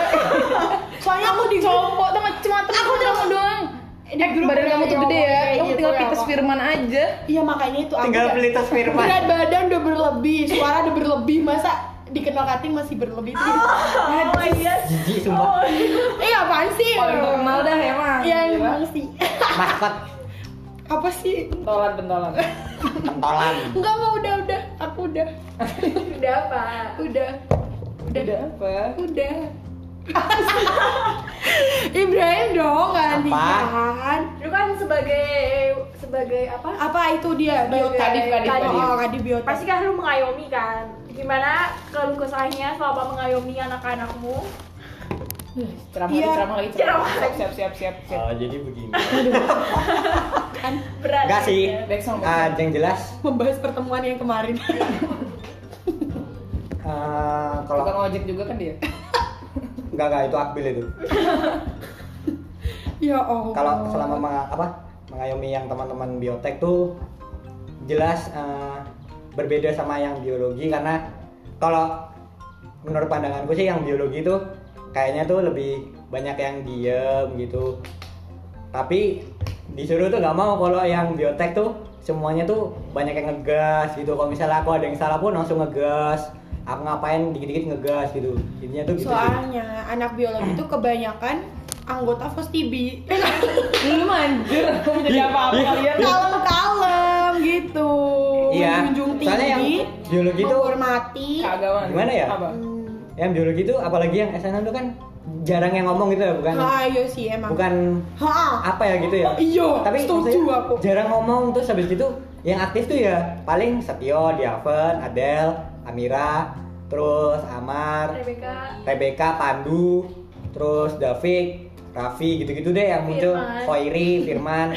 Speaker 2: Soalnya aku di
Speaker 5: cowok tuh cuma aku kamu doang. Eh, badan kamu tuh gede ya, kamu tinggal pites firman aja.
Speaker 2: Iya makanya itu aku
Speaker 4: Tinggal
Speaker 2: ya.
Speaker 4: beli tas firman.
Speaker 2: Berat badan udah berlebih, suara udah berlebih, masa dikenal kating masih berlebih Itu gitu.
Speaker 3: Oh iya.
Speaker 4: Jijik sumpah.
Speaker 2: Eh apaan sih?
Speaker 5: Paling terkenal dah emang.
Speaker 2: Iya emang sih.
Speaker 4: Maskot
Speaker 2: Apa sih?
Speaker 5: Bentolan bentolan.
Speaker 4: kentolan.
Speaker 2: Enggak mau udah udah, aku udah,
Speaker 3: Udah apa?
Speaker 2: udah,
Speaker 5: Udah apa?
Speaker 2: udah. Ibrahim dong gantian.
Speaker 3: Lu kan sebagai sebagai apa?
Speaker 2: Apa itu dia?
Speaker 3: Sebagai
Speaker 2: Biota.
Speaker 5: Kadif, kadif,
Speaker 3: kadif.
Speaker 2: Oh, kadif biota.
Speaker 3: Pasti kan lu mengayomi kan? Gimana kalau kesahnya selama mengayomi anak-anakmu?
Speaker 5: Ceramah
Speaker 2: Iya.
Speaker 5: lagi, ceramah lagi, ceramah.
Speaker 3: Ceramah.
Speaker 5: Siap, siap, siap, siap, siap.
Speaker 4: Oh, jadi begini.
Speaker 3: Berat. ya?
Speaker 4: Enggak sih.
Speaker 5: Back sound, back
Speaker 4: Ah,
Speaker 5: sound.
Speaker 4: yang jelas
Speaker 2: membahas pertemuan yang kemarin.
Speaker 4: eh, kalau
Speaker 5: Tukang ojek juga kan dia.
Speaker 4: enggak enggak itu akbil itu.
Speaker 2: ya Allah.
Speaker 4: kalau selama gitu menga- apa mengayomi yang teman-teman biotek tuh jelas eh, berbeda sama yang biologi karena kalau menurut pandanganku sih yang biologi tuh kayaknya tuh lebih banyak yang diem gitu tapi disuruh tuh nggak mau kalau yang biotek tuh semuanya tuh banyak yang ngegas gitu kalau misalnya aku ada yang salah pun langsung ngegas aku ngapain dikit-dikit ngegas gitu intinya tuh gitu sih
Speaker 2: Soalnya anak biologi itu kebanyakan anggota FOSTIBI
Speaker 5: Lu manjur, kamu jadi apa-apa kalian.
Speaker 2: Iya. kalem-kalem gitu
Speaker 4: Iya.
Speaker 2: menjunjung
Speaker 4: Soalnya yang gitu
Speaker 2: tinggi
Speaker 4: biologi itu
Speaker 2: menghormati
Speaker 5: Keagamaan.
Speaker 4: Gimana ya?
Speaker 5: Apa?
Speaker 4: yang biologi itu apalagi yang SNM itu kan jarang yang ngomong gitu ya, bukan
Speaker 2: Ah, iya sih emang
Speaker 4: bukan
Speaker 2: Ha,
Speaker 4: apa ya gitu ya.
Speaker 2: iya
Speaker 4: Tapi
Speaker 2: setuju
Speaker 4: maksudnya
Speaker 2: aku
Speaker 4: jarang ngomong terus habis itu yang aktif tuh ya paling Setio, Diaven, Adel, Amira, terus Amar,
Speaker 3: Rebecca
Speaker 4: Rebecca, Pandu, terus David, Raffi gitu-gitu deh yang muncul,
Speaker 3: Firman.
Speaker 4: Koiri, Firman.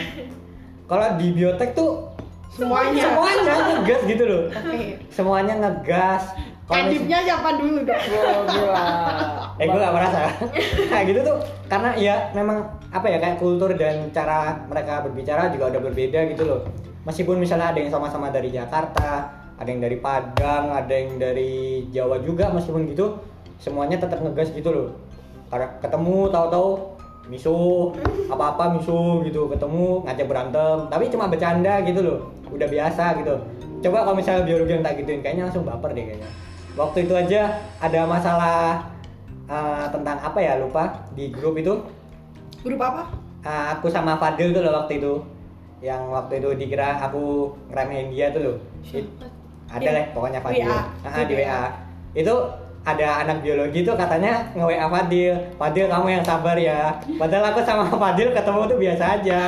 Speaker 4: Kalau di biotek tuh
Speaker 2: semuanya
Speaker 4: semuanya ngegas gitu loh.
Speaker 2: oke
Speaker 4: Semuanya ngegas. Kalau
Speaker 2: Kadipnya siapa dulu dong
Speaker 5: Gua gua.
Speaker 4: eh gue gak merasa kayak gitu tuh karena ya memang apa ya kayak kultur dan cara mereka berbicara juga udah berbeda gitu loh meskipun misalnya ada yang sama-sama dari Jakarta ada yang dari Padang ada yang dari Jawa juga meskipun gitu semuanya tetap ngegas gitu loh karena ketemu tahu-tahu misuh apa-apa misuh gitu ketemu ngajak berantem tapi cuma bercanda gitu loh udah biasa gitu coba kalau misalnya biologi yang tak gituin kayaknya langsung baper deh kayaknya waktu itu aja ada masalah eh, tentang apa ya lupa di grup itu
Speaker 2: grup apa
Speaker 4: eh, aku sama Fadil tuh loh waktu itu yang waktu itu dikira aku ngeremehin dia tuh loh It- ada
Speaker 2: Iya.
Speaker 4: lah pokoknya Fadil
Speaker 2: WA.
Speaker 4: Ah, di WA itu ada anak biologi tuh katanya nge WA Fadil Fadil kamu yang sabar ya padahal aku sama Fadil ketemu tuh biasa aja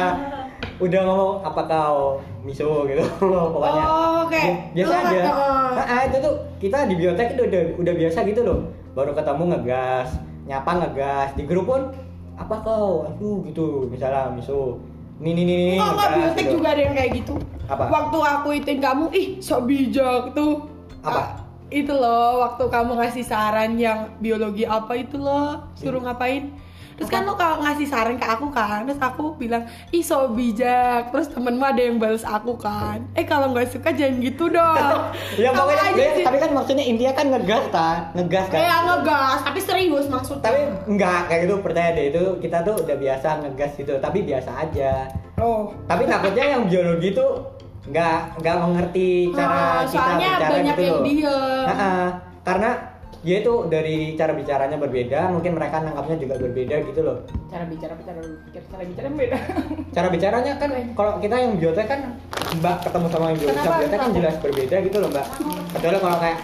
Speaker 4: udah ngomong apa kau miso gitu pokoknya
Speaker 2: oh, oke
Speaker 4: Bi- Iya, biasa
Speaker 2: Lu-
Speaker 4: aja
Speaker 2: Heeh.
Speaker 4: Nah, ah, itu tuh kita di biotek itu udah udah biasa gitu loh baru ketemu ngegas nyapa ngegas di grup pun apa kau aduh gitu misalnya miso nih nih nih nih,
Speaker 2: Enggak, enggak,
Speaker 4: ngegas
Speaker 2: biotek
Speaker 4: gitu.
Speaker 2: juga ada yang kayak gitu
Speaker 4: Apa?
Speaker 2: Waktu aku ituin kamu, ih sok bijak tuh
Speaker 4: Apa?
Speaker 2: Ah, itu loh, waktu kamu ngasih saran yang biologi apa itu loh
Speaker 4: Iya.
Speaker 2: Suruh ngapain Terus kan lo kalau ngasih saran ke aku kan Terus aku bilang, ih sok bijak Terus temenmu ada yang balas aku kan Eh kalau nggak suka jangan gitu dong
Speaker 4: ya
Speaker 2: Sama
Speaker 4: pokoknya
Speaker 2: aja sih. Iya.
Speaker 4: tapi kan maksudnya intinya kan ngegas ta ngegas kan
Speaker 2: Kayak ngegas, tapi serius maksudnya
Speaker 4: tapi enggak kayak gitu percaya deh itu kita tuh udah biasa ngegas gitu tapi biasa aja
Speaker 2: Oh
Speaker 4: tapi takutnya yang biologi tuh nggak nggak mengerti
Speaker 2: Ah,
Speaker 4: cara kita
Speaker 2: Soalnya
Speaker 4: bicara
Speaker 2: banyak
Speaker 4: gitu
Speaker 2: yang
Speaker 4: loh.
Speaker 2: diem
Speaker 4: Heeh, karena ya itu dari cara bicaranya berbeda, mungkin mereka nangkapnya juga berbeda gitu loh.
Speaker 5: Cara bicara, cara bicara, cara bicara beda.
Speaker 4: Cara bicaranya kan kalau kita yang biotek kan Mbak ketemu sama yang biotek,
Speaker 2: Kenapa?
Speaker 4: biotek kan
Speaker 2: Kenapa?
Speaker 4: jelas berbeda gitu loh Mbak. Kecuali kalau kayak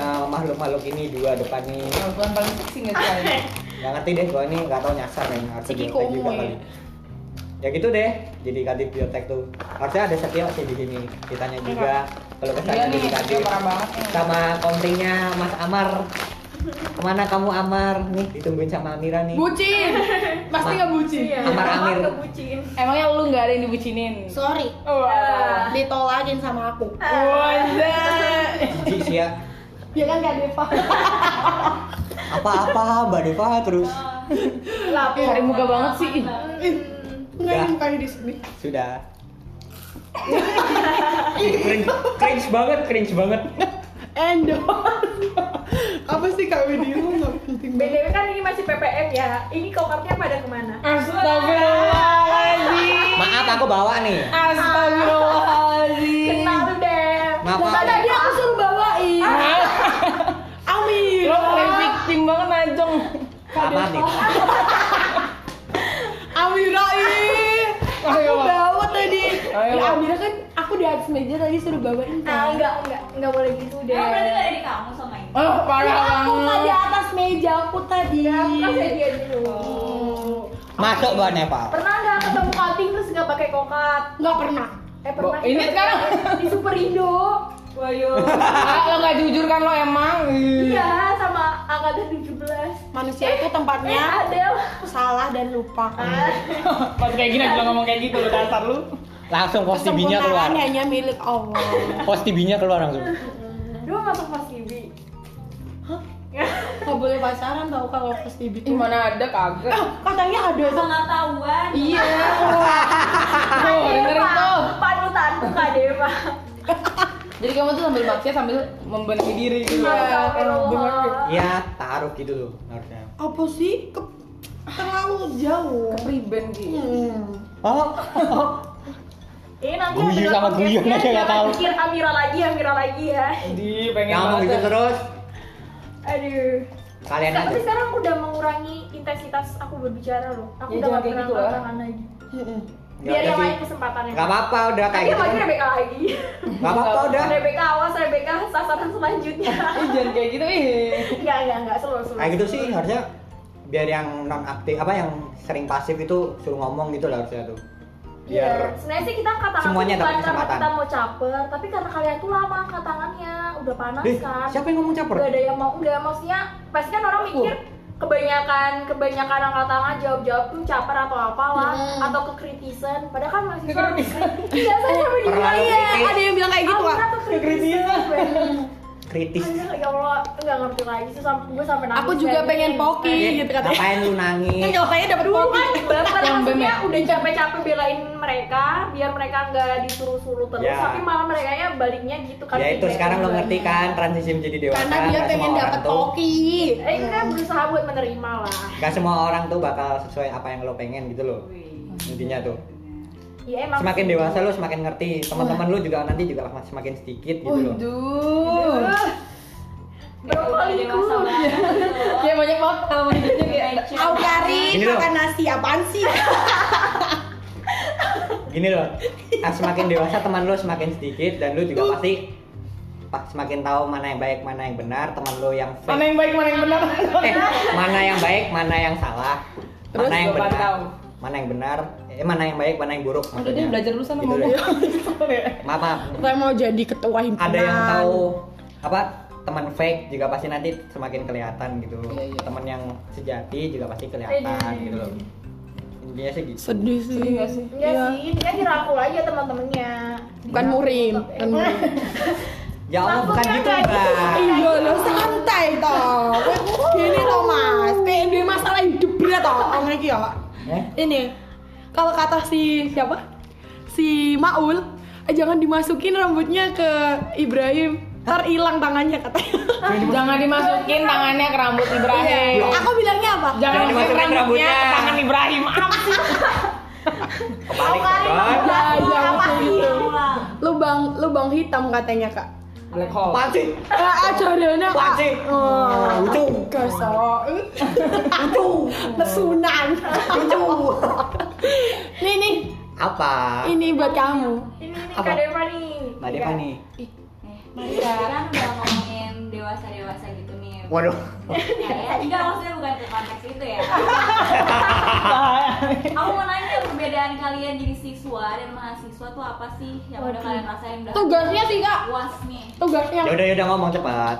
Speaker 4: eh, makhluk-makhluk ini dua depan nih
Speaker 5: Perempuan paling seksi nggak sih? kalian?
Speaker 4: nggak ngerti deh gua ini nggak tahu nyasar yang harus
Speaker 5: Ciki
Speaker 4: biotek juga
Speaker 5: komoe.
Speaker 4: kali. Ya gitu deh, jadi kadip biotek tuh. Harusnya ada Setio sih di sini. Ditanya juga kalau
Speaker 5: Gila
Speaker 4: kesannya
Speaker 5: Iya. nih,
Speaker 4: jadi
Speaker 5: dia
Speaker 4: kadip.
Speaker 5: parah banget.
Speaker 4: sama kontrinya Mas Amar kemana kamu Amar nih ditungguin sama Amira nih
Speaker 5: Bucin.
Speaker 2: Pasti nggak bucin
Speaker 3: Iya,
Speaker 4: Amar
Speaker 3: Amar
Speaker 4: Amir.
Speaker 3: kebucin
Speaker 5: Emangnya lu nggak ada yang dibucinin?
Speaker 2: Sorry,
Speaker 5: Oh,
Speaker 3: Ah.
Speaker 2: ditolakin sama aku
Speaker 5: Wanda.
Speaker 4: Ji sih ya
Speaker 2: Ya kan gak Deva
Speaker 4: apa-apa Mbak Deva terus
Speaker 3: lapor
Speaker 5: Cari muka banget sih.
Speaker 2: Enggak
Speaker 4: Enggak.
Speaker 2: ini mukanya di sini
Speaker 5: Iya.
Speaker 4: sudah cringe, cringe banget cringe banget
Speaker 2: Endo Apa sih kak video nggak penting banget
Speaker 3: BTW kan ini masih PPM ya ini kokapnya pada kemana
Speaker 5: Astagfirullahaladzim.
Speaker 4: maaf aku bawa nih
Speaker 5: Astagfirullahaladzim.
Speaker 3: kenal deh
Speaker 4: Maaf,
Speaker 3: Bukan
Speaker 4: maaf.
Speaker 3: tadi aku suruh bawain
Speaker 5: Lo play victim banget Najong.
Speaker 4: maaf maaf nih
Speaker 2: Amira ih Aku
Speaker 5: Ayo.
Speaker 2: bawa tadi
Speaker 5: Ayo.
Speaker 2: Ya Amira kan aku di atas meja tadi suruh bawain
Speaker 3: ah
Speaker 2: kan
Speaker 3: enggak enggak enggak boleh gitu deh
Speaker 6: Emang berarti gak dari kamu sama ini?
Speaker 5: Oh,
Speaker 2: Ya
Speaker 5: parah
Speaker 2: aku tadi
Speaker 5: banget.
Speaker 2: atas meja aku tadi
Speaker 4: Iya.
Speaker 3: kasih dia dulu
Speaker 4: Oh. masuk Mbak Nepal
Speaker 3: pernah nggak ketemu cutting terus nggak pakai kokat
Speaker 2: Nggak pernah
Speaker 3: eh pernah
Speaker 5: Bo- ini
Speaker 3: kita-
Speaker 4: kan?
Speaker 5: sekarang.
Speaker 3: di Superindo
Speaker 4: Hmm.
Speaker 6: Wayo
Speaker 5: Ah, lo nggak jujur kan lo emang?
Speaker 3: iya sama angkatan 17
Speaker 2: Manusia itu
Speaker 3: eh
Speaker 4: Ya.
Speaker 2: tempatnya
Speaker 3: ada
Speaker 2: salah dan lupa
Speaker 5: Pas kayak gini bilang ngomong kayak gitu lo dasar lu.
Speaker 4: langsung post TV-nya keluar
Speaker 2: Kesempurnaan hanya milik Allah
Speaker 4: post TV-nya keluar langsung
Speaker 3: dua masuk pas TV
Speaker 2: Nggak boleh pacaran tau kalau pas di
Speaker 5: Ih, mana ada kagak.
Speaker 2: Ah, katanya ada sama
Speaker 6: Pengetahuan
Speaker 5: Iya. Tuh, dengerin tuh.
Speaker 3: panutan Kak Dewa
Speaker 5: Jadi kamu tuh sambil maksiat sambil membenahi diri
Speaker 4: Iya,
Speaker 5: gitu.
Speaker 3: Astagfirullah
Speaker 4: ya taruh gitu loh harusnya
Speaker 2: apa sih Ke- terlalu jauh
Speaker 5: Priben gitu.
Speaker 2: Hmm.
Speaker 4: oh
Speaker 3: ini nanti
Speaker 4: Guyu
Speaker 3: ada
Speaker 4: sama
Speaker 3: podcastnya,
Speaker 4: guyon aja nggak
Speaker 3: jangan
Speaker 4: tahu.
Speaker 3: pikir Amira lagi Amira lagi ya
Speaker 5: Di pengen
Speaker 4: ngomong gitu
Speaker 5: banget.
Speaker 4: terus
Speaker 3: aduh
Speaker 4: kalian aja
Speaker 3: Tapi sekarang aku udah mengurangi intensitas aku berbicara loh.
Speaker 5: Ya,
Speaker 3: Aku
Speaker 5: jangan
Speaker 3: udah gak
Speaker 5: kayak
Speaker 3: pernah
Speaker 5: gitu lah.
Speaker 3: angkat tangan lagi.
Speaker 4: Nggak
Speaker 3: Biar yang
Speaker 4: jadi-
Speaker 3: lain kesempatannya.
Speaker 4: nggak apa-apa udah kayak
Speaker 3: Nanti
Speaker 4: gitu
Speaker 3: lagi
Speaker 4: kan.
Speaker 3: Rebecca lagi.
Speaker 4: nggak apa-apa udah
Speaker 3: Rebecca awas, Rebecca sasaran selanjutnya.
Speaker 5: Ih, jangan kayak gitu ih.
Speaker 3: Enggak, enggak, enggak seru, seru.
Speaker 4: kayak gitu sih harusnya biar yang non aktif apa yang sering pasif itu suruh ngomong gitu lah harusnya tuh
Speaker 3: Iya,
Speaker 4: biar
Speaker 3: sebenarnya sih kita angkat tangan
Speaker 4: Semuanya
Speaker 3: tuh bukan
Speaker 4: dapat
Speaker 3: karena
Speaker 4: kesempatan.
Speaker 3: kita mau caper, tapi karena kalian tuh lama angkat tangannya, udah
Speaker 2: Iya,
Speaker 3: panas
Speaker 4: Dih,
Speaker 3: kan.
Speaker 4: siapa yang ngomong
Speaker 3: Gak
Speaker 4: caper
Speaker 3: ada yang mau, enggak maksudnya pasti kan orang mikir kebanyakan kebanyakan angkat tangan jawab-jawab tuh caper atau apalah
Speaker 5: Hmm.
Speaker 3: atau kekritisan padahal kan masih
Speaker 5: Ini kan bisa
Speaker 3: Iya, saya
Speaker 4: Terlalu
Speaker 3: sampai dibilang iya.
Speaker 2: Eh,
Speaker 4: kritis.
Speaker 3: Ada yang bilang kayak gitu kan?
Speaker 5: Kekritisan.
Speaker 4: kritis
Speaker 3: Ya Allah, nggak ngerti lagi sih sampai gue sampai nangis.
Speaker 2: Aku juga
Speaker 3: kayak
Speaker 2: pengen
Speaker 3: gini.
Speaker 2: poki gitu katanya.
Speaker 4: ngapain lu
Speaker 2: Kan
Speaker 4: nangis
Speaker 2: jawabannya dapat
Speaker 3: Dulu
Speaker 2: poki. ya?
Speaker 3: kan baper
Speaker 5: Yang
Speaker 3: maksudnya
Speaker 5: bener.
Speaker 3: udah capek-capek belain mereka biar mereka nggak disuruh-suruh terus
Speaker 4: Ya.
Speaker 3: tapi malah mereka nya baliknya gitu kan.
Speaker 4: ya itu
Speaker 3: feedback
Speaker 4: sekarang lo
Speaker 3: juga.
Speaker 4: ngerti kan transisi menjadi dewasa
Speaker 2: Karena dia
Speaker 4: nggak
Speaker 2: pengen
Speaker 4: semua orang
Speaker 2: dapat
Speaker 4: tuh
Speaker 2: poki.
Speaker 3: Eh kita berusaha buat menerima lah.
Speaker 4: nggak semua orang tuh bakal sesuai apa yang lo pengen gitu loh intinya tuh
Speaker 3: Iya emang.
Speaker 4: semakin
Speaker 3: sih.
Speaker 4: dewasa lo semakin ngerti teman-teman lo juga nanti juga semakin sedikit gitu loh
Speaker 5: Waduh.
Speaker 3: Brokoliku.
Speaker 7: Dewasa banget loh.
Speaker 5: Ya banyak banget sama hidupnya kayak
Speaker 8: Au kari
Speaker 4: Ini loh.
Speaker 8: makan nasi apaan sih?
Speaker 4: gini loh ah, semakin dewasa teman lo semakin sedikit dan lo juga pasti pa- semakin tahu mana yang baik mana yang benar teman lo yang fake
Speaker 5: mana yang baik mana yang benar.
Speaker 4: eh mana yang baik mana yang salah
Speaker 5: Terus
Speaker 4: mana yang
Speaker 5: gua
Speaker 4: benar
Speaker 5: pantau.
Speaker 4: mana yang benar eh mana yang baik mana yang buruk
Speaker 5: Udah dia
Speaker 4: maksudnya
Speaker 5: belajar dulu sana
Speaker 4: Gitu
Speaker 5: ngomong.
Speaker 4: deh. maaf maaf
Speaker 2: Saya mau jadi ketua himpunan.
Speaker 4: ada yang tahu apa teman fake juga pasti nanti semakin kelihatan gitu
Speaker 5: Iya,
Speaker 4: teman yang sejati juga pasti kelihatan gitu loh intinya sih gitu
Speaker 2: Sedih sih.
Speaker 5: Sedih nggak sih?
Speaker 3: Enggak
Speaker 2: Iya.
Speaker 3: sih, dia dirangkul aja teman-temannya.
Speaker 2: Bukan
Speaker 3: Iya,
Speaker 2: murim, bukan murim.
Speaker 4: ya Allah bukan gitu mbak
Speaker 2: Iya lo santai toh. Gini loh mas, kayak dia masalah hidup berat toh. Om iki ya.
Speaker 4: Eh?
Speaker 2: Ini kalau kata si siapa? Si Maul, "Eh, jangan dimasukin rambutnya ke Ibrahim. Ntar hilang tangannya katanya.
Speaker 5: Ah.
Speaker 2: Iya.
Speaker 5: Jangan dimasukin tangannya ke rambut Ibrahim.
Speaker 2: Eh, Aku bilangnya apa?
Speaker 5: Iya. Jangan
Speaker 4: Jangan
Speaker 5: dimasukin
Speaker 4: dimasukin
Speaker 5: rambutnya ke
Speaker 4: rambutnya.
Speaker 5: tangan Ibrahim.
Speaker 4: kebalik dong
Speaker 3: Iya,
Speaker 2: Nah, jangan kayak gitu. Lubang lubang hitam katanya kak.
Speaker 5: Black hole.
Speaker 4: Apaan sih?
Speaker 2: Ah, jodohnya kak.
Speaker 4: Apaan sih?
Speaker 2: Oh,
Speaker 4: Lucu.
Speaker 2: Gosok.
Speaker 4: Lucu.
Speaker 2: Lesunan.
Speaker 4: Lucu.
Speaker 2: Nih nih,
Speaker 4: Apa?
Speaker 2: ini buat kamu.
Speaker 3: Ini ini
Speaker 4: Apa?
Speaker 3: Kak Deva nih.
Speaker 4: Mbak Deva nih.
Speaker 7: Tadi kan udah ngomongin dewasa-dewasa gitu nih.
Speaker 4: Waduh.
Speaker 7: Kayak enggak maksudnya bukan ke konteks itu ya. Aku mau nanya perbedaan kalian jadi siswa dan mahasiswa tuh apa sih yang udah kalian rasain udah
Speaker 2: Tugasnya sih kak.
Speaker 7: puas nih.
Speaker 2: Tugasnya.
Speaker 4: Ya udah ya udah ngomong cepat.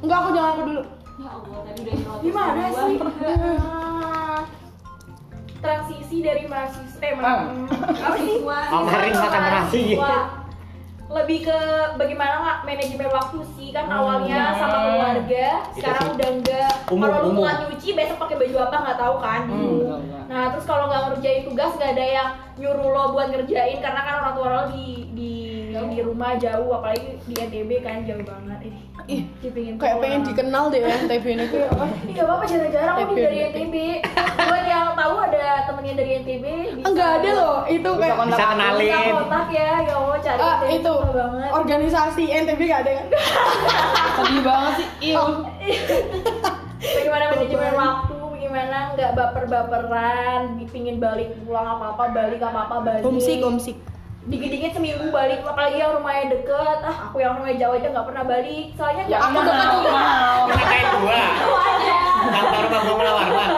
Speaker 2: Enggak aku jangan aku dulu.
Speaker 7: Ya Allah, tadi udah nyerobos
Speaker 3: Gimana
Speaker 7: dua.
Speaker 3: sih? Ah, Transisi dari mahasiswa eh ma- apa sih?
Speaker 7: Siswa.
Speaker 4: Amarin
Speaker 3: Siswa
Speaker 4: makan
Speaker 3: ke
Speaker 4: nasi.
Speaker 3: mahasiswa. Lebih ke bagaimana nggak manajemen waktu sih kan awalnya sama keluarga, sekarang
Speaker 4: sih.
Speaker 3: udah enggak.
Speaker 4: Umum,
Speaker 3: Kalau lu
Speaker 4: umum.
Speaker 3: telat nyuci besok pakai baju apa nggak tahu kan?
Speaker 5: Hmm, betul, betul.
Speaker 3: Nah terus kalau nggak ngerjain tugas nggak ada yang nyuruh lo buat ngerjain karena kan orang tua lo di di di rumah jauh apalagi di NTB kan jauh banget. Ih, dia pengen
Speaker 2: Kayak
Speaker 3: pulang.
Speaker 2: pengen dikenal deh ya NTB ini.
Speaker 3: Iya, Ini gak apa-apa jarang-jarang aku
Speaker 2: TB.
Speaker 3: dari NTB Buat yang tahu ada temennya dari NTB bisa-
Speaker 2: Enggak ada loh, itu kayak
Speaker 4: Bisa
Speaker 3: Bisa
Speaker 4: kenalin.
Speaker 3: kontak ya, ya Allah cari
Speaker 2: Ah,
Speaker 3: NTB,
Speaker 2: itu
Speaker 3: susah banget
Speaker 2: organisasi NTB gak ada kan?
Speaker 5: Sedih banget sih. Iya.
Speaker 3: Bagaimana manajemen waktu, gimana nggak baper-baperan Pingin balik pulang apa-apa, balik apa-apa, balik
Speaker 2: Homesick, homesick.
Speaker 3: Dikit-dikit seminggu balik, apalagi yang rumahnya deket Ah, aku yang rumahnya jauh aja nggak pernah balik Soalnya
Speaker 5: Ya
Speaker 3: nggak
Speaker 5: aku dekat rumah.
Speaker 4: Ngatain gua. Kantor Bang Bang Warman.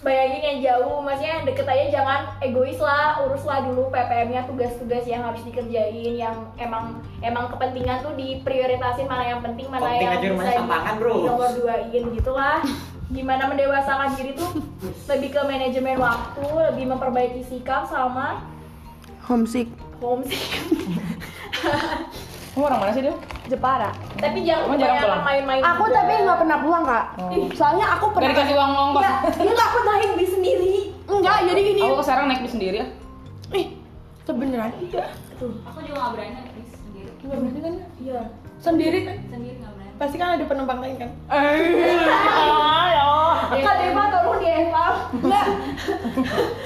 Speaker 3: bayangin yang jauh maksudnya yang deket aja jangan egois lah uruslah dulu PPM-nya tugas-tugas yang harus dikerjain yang emang emang kepentingan tuh diprioritasin mana yang penting mana
Speaker 4: Penting
Speaker 3: yang
Speaker 4: aja rumahnya
Speaker 3: bisa
Speaker 4: sampangan, bro.
Speaker 3: nomor duain gitulah gimana mendewasakan diri tuh lebih ke manajemen waktu lebih memperbaiki sikap sama
Speaker 2: Homesick.
Speaker 3: homesick
Speaker 5: Kamu orang mana sih dia?
Speaker 2: Jepara.
Speaker 3: tapi jangan
Speaker 5: Emang jarang
Speaker 3: kebanyakan
Speaker 5: pulang?
Speaker 3: main-main
Speaker 2: Aku
Speaker 3: juga.
Speaker 2: tapi nggak pernah pulang kak. Soalnya aku
Speaker 5: Oh. Gak
Speaker 2: pernah.
Speaker 5: dikasih uang ngongkos.
Speaker 3: Iya, dia nggak pernah hidup sendiri
Speaker 2: Enggak, jadi gini.
Speaker 5: Aku sekarang naik bis sendiri ya.
Speaker 2: Ih, itu beneran?
Speaker 7: Aku juga nggak berani tapi sendiri.
Speaker 3: iya
Speaker 2: kan? Sendiri kan?
Speaker 7: Sendiri nggak berani.
Speaker 2: Pasti kan ada penumpang lain kan?
Speaker 3: Kak Deva tolong di Eva
Speaker 2: Enggak.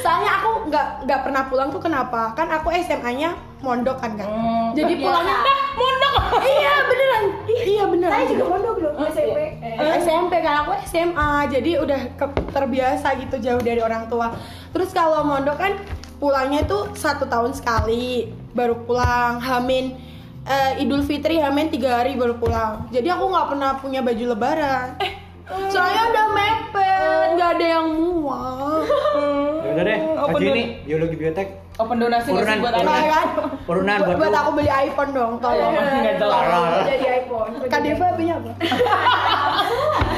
Speaker 2: Soalnya aku nggak nggak pernah pulang tuh kenapa? Kan aku SMA-nya mondok kan kak.
Speaker 5: Hmm.
Speaker 2: Jadi pulangnya dah mondok. iya beneran. Iya bener. bener
Speaker 9: Saya
Speaker 2: aja.
Speaker 9: juga mondok dong SMP.
Speaker 2: Eh, SMP kan aku SMA jadi udah ke- terbiasa gitu jauh dari orang tua terus kalau mondok kan pulangnya itu satu tahun sekali baru pulang hamin eh, Idul Fitri hamin tiga hari baru pulang jadi aku nggak pernah punya baju lebaran eh, saya udah mepet nggak ada yang muat
Speaker 4: Ya udah deh,
Speaker 5: Open
Speaker 4: Haji
Speaker 5: door.
Speaker 4: ini biologi biotek.
Speaker 5: Open donasi nggak sih
Speaker 4: Urunan,
Speaker 5: buat
Speaker 4: urunan.
Speaker 5: anak?
Speaker 2: Nah, kan?
Speaker 4: Urunan
Speaker 2: buat,
Speaker 4: buat
Speaker 2: buat
Speaker 4: lu.
Speaker 2: aku beli iPhone dong tolong
Speaker 5: Nggak jelas.
Speaker 4: Parah.
Speaker 9: Eh, Jadi iPhone.
Speaker 2: Kak Deva punya apa?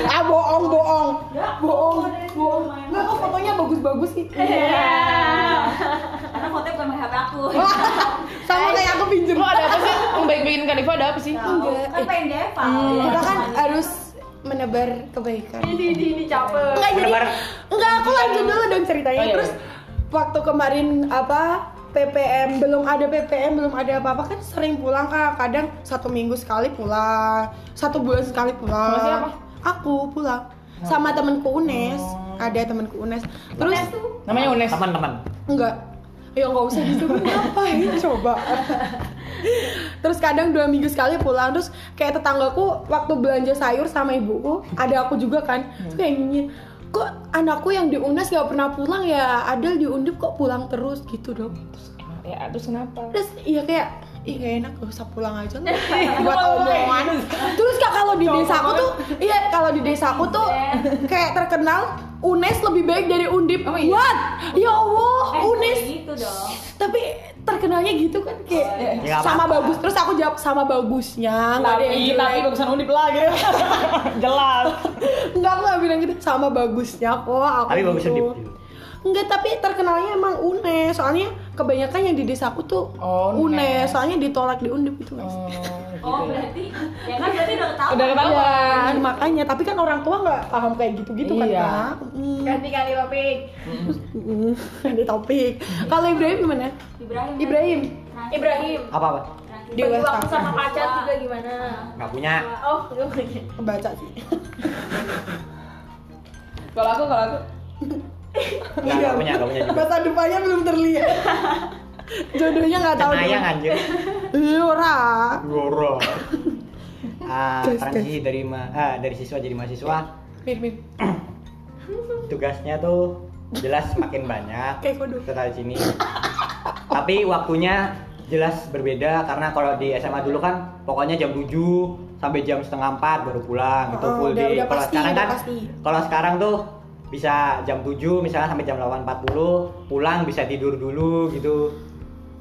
Speaker 2: ah bohong bohong Ya, bohong bohong nggak kok fotonya bagus-bagus sih
Speaker 7: Karena fotonya bukan pakai HP aku.
Speaker 2: sama kayak aku pinjem
Speaker 5: Lo ada apa sih? Yang baik-baikin Kak Diva ada apa sih?
Speaker 2: Enggak.
Speaker 7: Kan pengen Deva.
Speaker 2: kita kan harus menebar kebaikan
Speaker 9: Ini ini ini capek.
Speaker 2: enggak jadi
Speaker 4: Menebar-
Speaker 2: enggak aku lanjut dulu dong ceritanya
Speaker 5: Oh, iya,
Speaker 2: terus waktu kemarin apa PPM belum ada PPM belum ada apa-apa kan sering pulang kak kadang satu minggu sekali pulang satu bulan sekali pulang
Speaker 5: Sama siapa?
Speaker 2: aku pulang sama temenku UNES ada temenku Oh. UNES terus
Speaker 5: Namanya Unes.
Speaker 4: Teman-teman.
Speaker 2: enggak ya nggak usah disebut ngapain coba terus kadang dua minggu sekali pulang terus kayak tetanggaku waktu belanja sayur sama ibuku ada aku juga kan terus kayak nyinyir kok anakku yang di UNES gak pernah pulang ya Adel di Undip kok pulang terus gitu dong
Speaker 5: Ya, terus kenapa?
Speaker 2: terus iya kayak Ih gak enak gak usah pulang aja lah buat omongan Terus kak kalau di desaku tuh Iya kalau di desaku tuh Kayak terkenal UNES lebih baik dari Undip What? Ya Allah UNES
Speaker 7: Gitu dong.
Speaker 2: tapi terkenalnya gitu kan
Speaker 5: Oh, iya.
Speaker 2: kayak
Speaker 4: Ya,
Speaker 2: sama bagus terus aku jawab sama bagusnya nggak ada yang
Speaker 5: Tapi, tapi
Speaker 2: jelek.
Speaker 5: bagusan Undip lah gitu. Jelas.
Speaker 2: nggak aku nggak bilang gitu sama bagusnya kok aku
Speaker 4: Tapi bagus
Speaker 2: gitu.
Speaker 4: sedip.
Speaker 2: Enggak, tapi terkenalnya emang UNES soalnya kebanyakan yang di desaku tuh
Speaker 5: Oh,
Speaker 2: UNES soalnya ditolak di gitu, Undip itu guys
Speaker 7: Oh berarti, ya kan berarti udah ketahuan.
Speaker 5: gitu Udah ketahuan.
Speaker 2: Iya, makanya tapi kan orang tua nggak paham kayak gitu-gitu kan
Speaker 5: Iya.
Speaker 2: Kak. Mm,
Speaker 9: Ganti kali topik.
Speaker 2: mm, ada topik kalau Ibrahim gimana
Speaker 7: Ibrahim.
Speaker 2: Ibrahim
Speaker 7: Transit.
Speaker 9: Ibrahim.
Speaker 4: Apa-apa?
Speaker 7: Transit.
Speaker 2: Di
Speaker 9: Bagi
Speaker 2: West
Speaker 9: waktu
Speaker 2: Afrika.
Speaker 9: sama pacar juga gimana?
Speaker 4: Enggak punya.
Speaker 9: Oh, enggak.
Speaker 2: kebaca sih
Speaker 5: Kalau aku, kalau aku.
Speaker 2: Iya.
Speaker 4: Enggak enggak punya, enggak punya juga.
Speaker 2: masa depannya belum terlihat jodohnya nggak tahu
Speaker 4: Cenayang anjir.
Speaker 2: Iya ora.
Speaker 4: Goro. Ah,
Speaker 2: Tes, tes.
Speaker 4: transisi dari ma ah, dari siswa jadi mahasiswa
Speaker 2: Mir mir.
Speaker 4: tugasnya tuh jelas makin banyak
Speaker 2: Kayak kodok.
Speaker 4: setelah di sini tapi waktunya jelas berbeda karena kalau di SMA dulu kan pokoknya jam 7 sampai jam setengah 4 baru pulang itu
Speaker 2: Oh,
Speaker 4: full
Speaker 2: udah-
Speaker 4: day
Speaker 2: udah
Speaker 4: kalau
Speaker 2: pasti,
Speaker 4: sekarang
Speaker 2: udah
Speaker 4: kan
Speaker 2: pasti.
Speaker 4: kalau sekarang tuh bisa jam 7 misalnya sampai jam 8.40 pulang bisa tidur dulu gitu